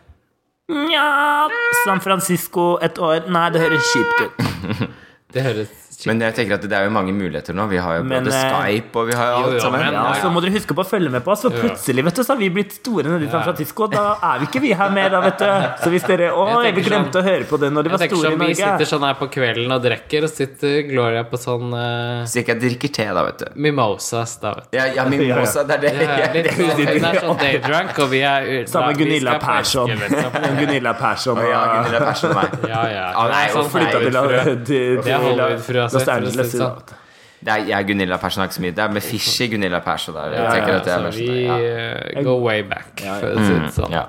Speaker 1: Nja San Francisco et år Nei, det høres kjipt ut.
Speaker 3: Det høres kjipt
Speaker 2: Men jeg tenker at det er jo mange muligheter nå. Vi har jo
Speaker 1: Men,
Speaker 2: både
Speaker 1: eh,
Speaker 2: Skype og vi har jo
Speaker 3: jo,
Speaker 2: alt sammen.
Speaker 3: men-
Speaker 1: Ja,
Speaker 3: Ja, ja.
Speaker 1: Så må dere huske på å følge med på oss, for plutselig vet du, så har vi blitt store nede i San Francisco. Og da er vi ikke vi her mer, da, vet du. Så hvis dere Å,
Speaker 3: Jeg
Speaker 1: vi
Speaker 3: tenker
Speaker 1: glemte
Speaker 3: sånn-
Speaker 1: å høre på det når de
Speaker 3: Jeg
Speaker 1: var
Speaker 3: tenker
Speaker 1: store
Speaker 3: sånn,
Speaker 1: i
Speaker 3: Vi sitter
Speaker 1: Norge.
Speaker 3: sånn her på kvelden og drikker, og sitter Gloria på sånn eh,
Speaker 2: Så ikke jeg drikker te, da, vet du.
Speaker 3: mimosas, da, vet du.
Speaker 2: Ja, ja mimosa, det er
Speaker 3: Det
Speaker 2: det.
Speaker 3: er litt sånn,
Speaker 2: det-
Speaker 3: hun er sånn daydrunk, og vi er u-
Speaker 1: Samme
Speaker 3: da- vi
Speaker 1: Gunilla
Speaker 3: skal på
Speaker 1: Persson.
Speaker 3: elske, liksom.
Speaker 1: Gunilla Persson
Speaker 2: Å, ja,
Speaker 1: og
Speaker 2: Gunilla Persson og meg.
Speaker 3: Ja, ja.
Speaker 2: Å, nei,
Speaker 3: Sånn
Speaker 2: å,
Speaker 1: flytta
Speaker 2: flytta
Speaker 1: til
Speaker 3: Hollywood-frø.
Speaker 1: til-
Speaker 3: Det er
Speaker 1: til
Speaker 3: Hollywood-frø, altså,
Speaker 1: Los
Speaker 3: for å si det
Speaker 1: Angeles.
Speaker 3: sånn.
Speaker 2: Det er jeg, Gunilla Persson, har ikke så mye. Det er med Fischer, Gunilla Persson. Der. Jeg tenker at det er
Speaker 3: så
Speaker 2: verst.
Speaker 3: vi
Speaker 2: Ja.
Speaker 3: eh, go way back, for å si det sånn.
Speaker 2: Ja.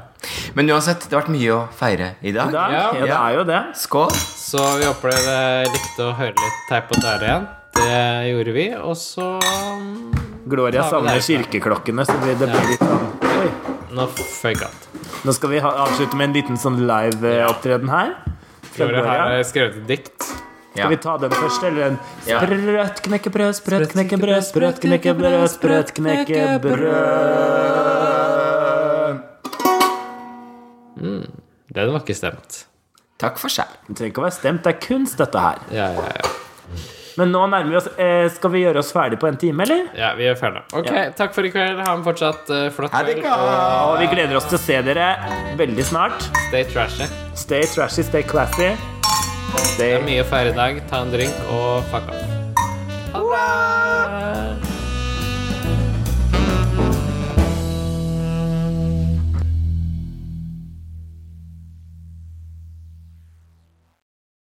Speaker 2: Men uansett, det har vært mye å feire i dag.
Speaker 1: Da, ja,
Speaker 3: Ja.
Speaker 1: det er jo det.
Speaker 2: Skål.
Speaker 3: Så vi eh, håper dere likte å høre litt teip og tære igjen. Det gjorde vi, og så
Speaker 1: Gloria savner kirkeklokkene, så det, det blir litt sånn Oi.
Speaker 3: Nå føyk alt.
Speaker 1: Nå skal vi ha, avslutte med en liten sånn live-opptreden her. Fra
Speaker 3: Gloria har
Speaker 1: Gloria.
Speaker 3: eh, skrevet et dikt.
Speaker 1: Skal vi ta den først, eller en
Speaker 2: Ja.
Speaker 1: sprøtt knekkebrød, sprøtt knekkebrød, sprøtt knekkebrød, sprøtt knekkebrød?
Speaker 3: Den var ikke stemt.
Speaker 2: Takk for seg.
Speaker 1: Det trenger ikke å være stemt, det er kunst, dette her.
Speaker 3: Ja, ja, ja.
Speaker 1: Men nå nærmer vi oss eh, Skal vi gjøre oss ferdig på en time, eller?
Speaker 3: ja vi er ferdige. Ok, takk for i kveld. Ha en fortsatt eh, flott
Speaker 2: Ha det
Speaker 3: kveld.
Speaker 2: godt.
Speaker 1: Og vi gleder oss til å se dere veldig snart.
Speaker 3: og Stay trashy.
Speaker 1: Stay trashy, stay classy.
Speaker 3: Det
Speaker 1: Stay
Speaker 3: er mye å feire i dag. Ta en drink og fuck off.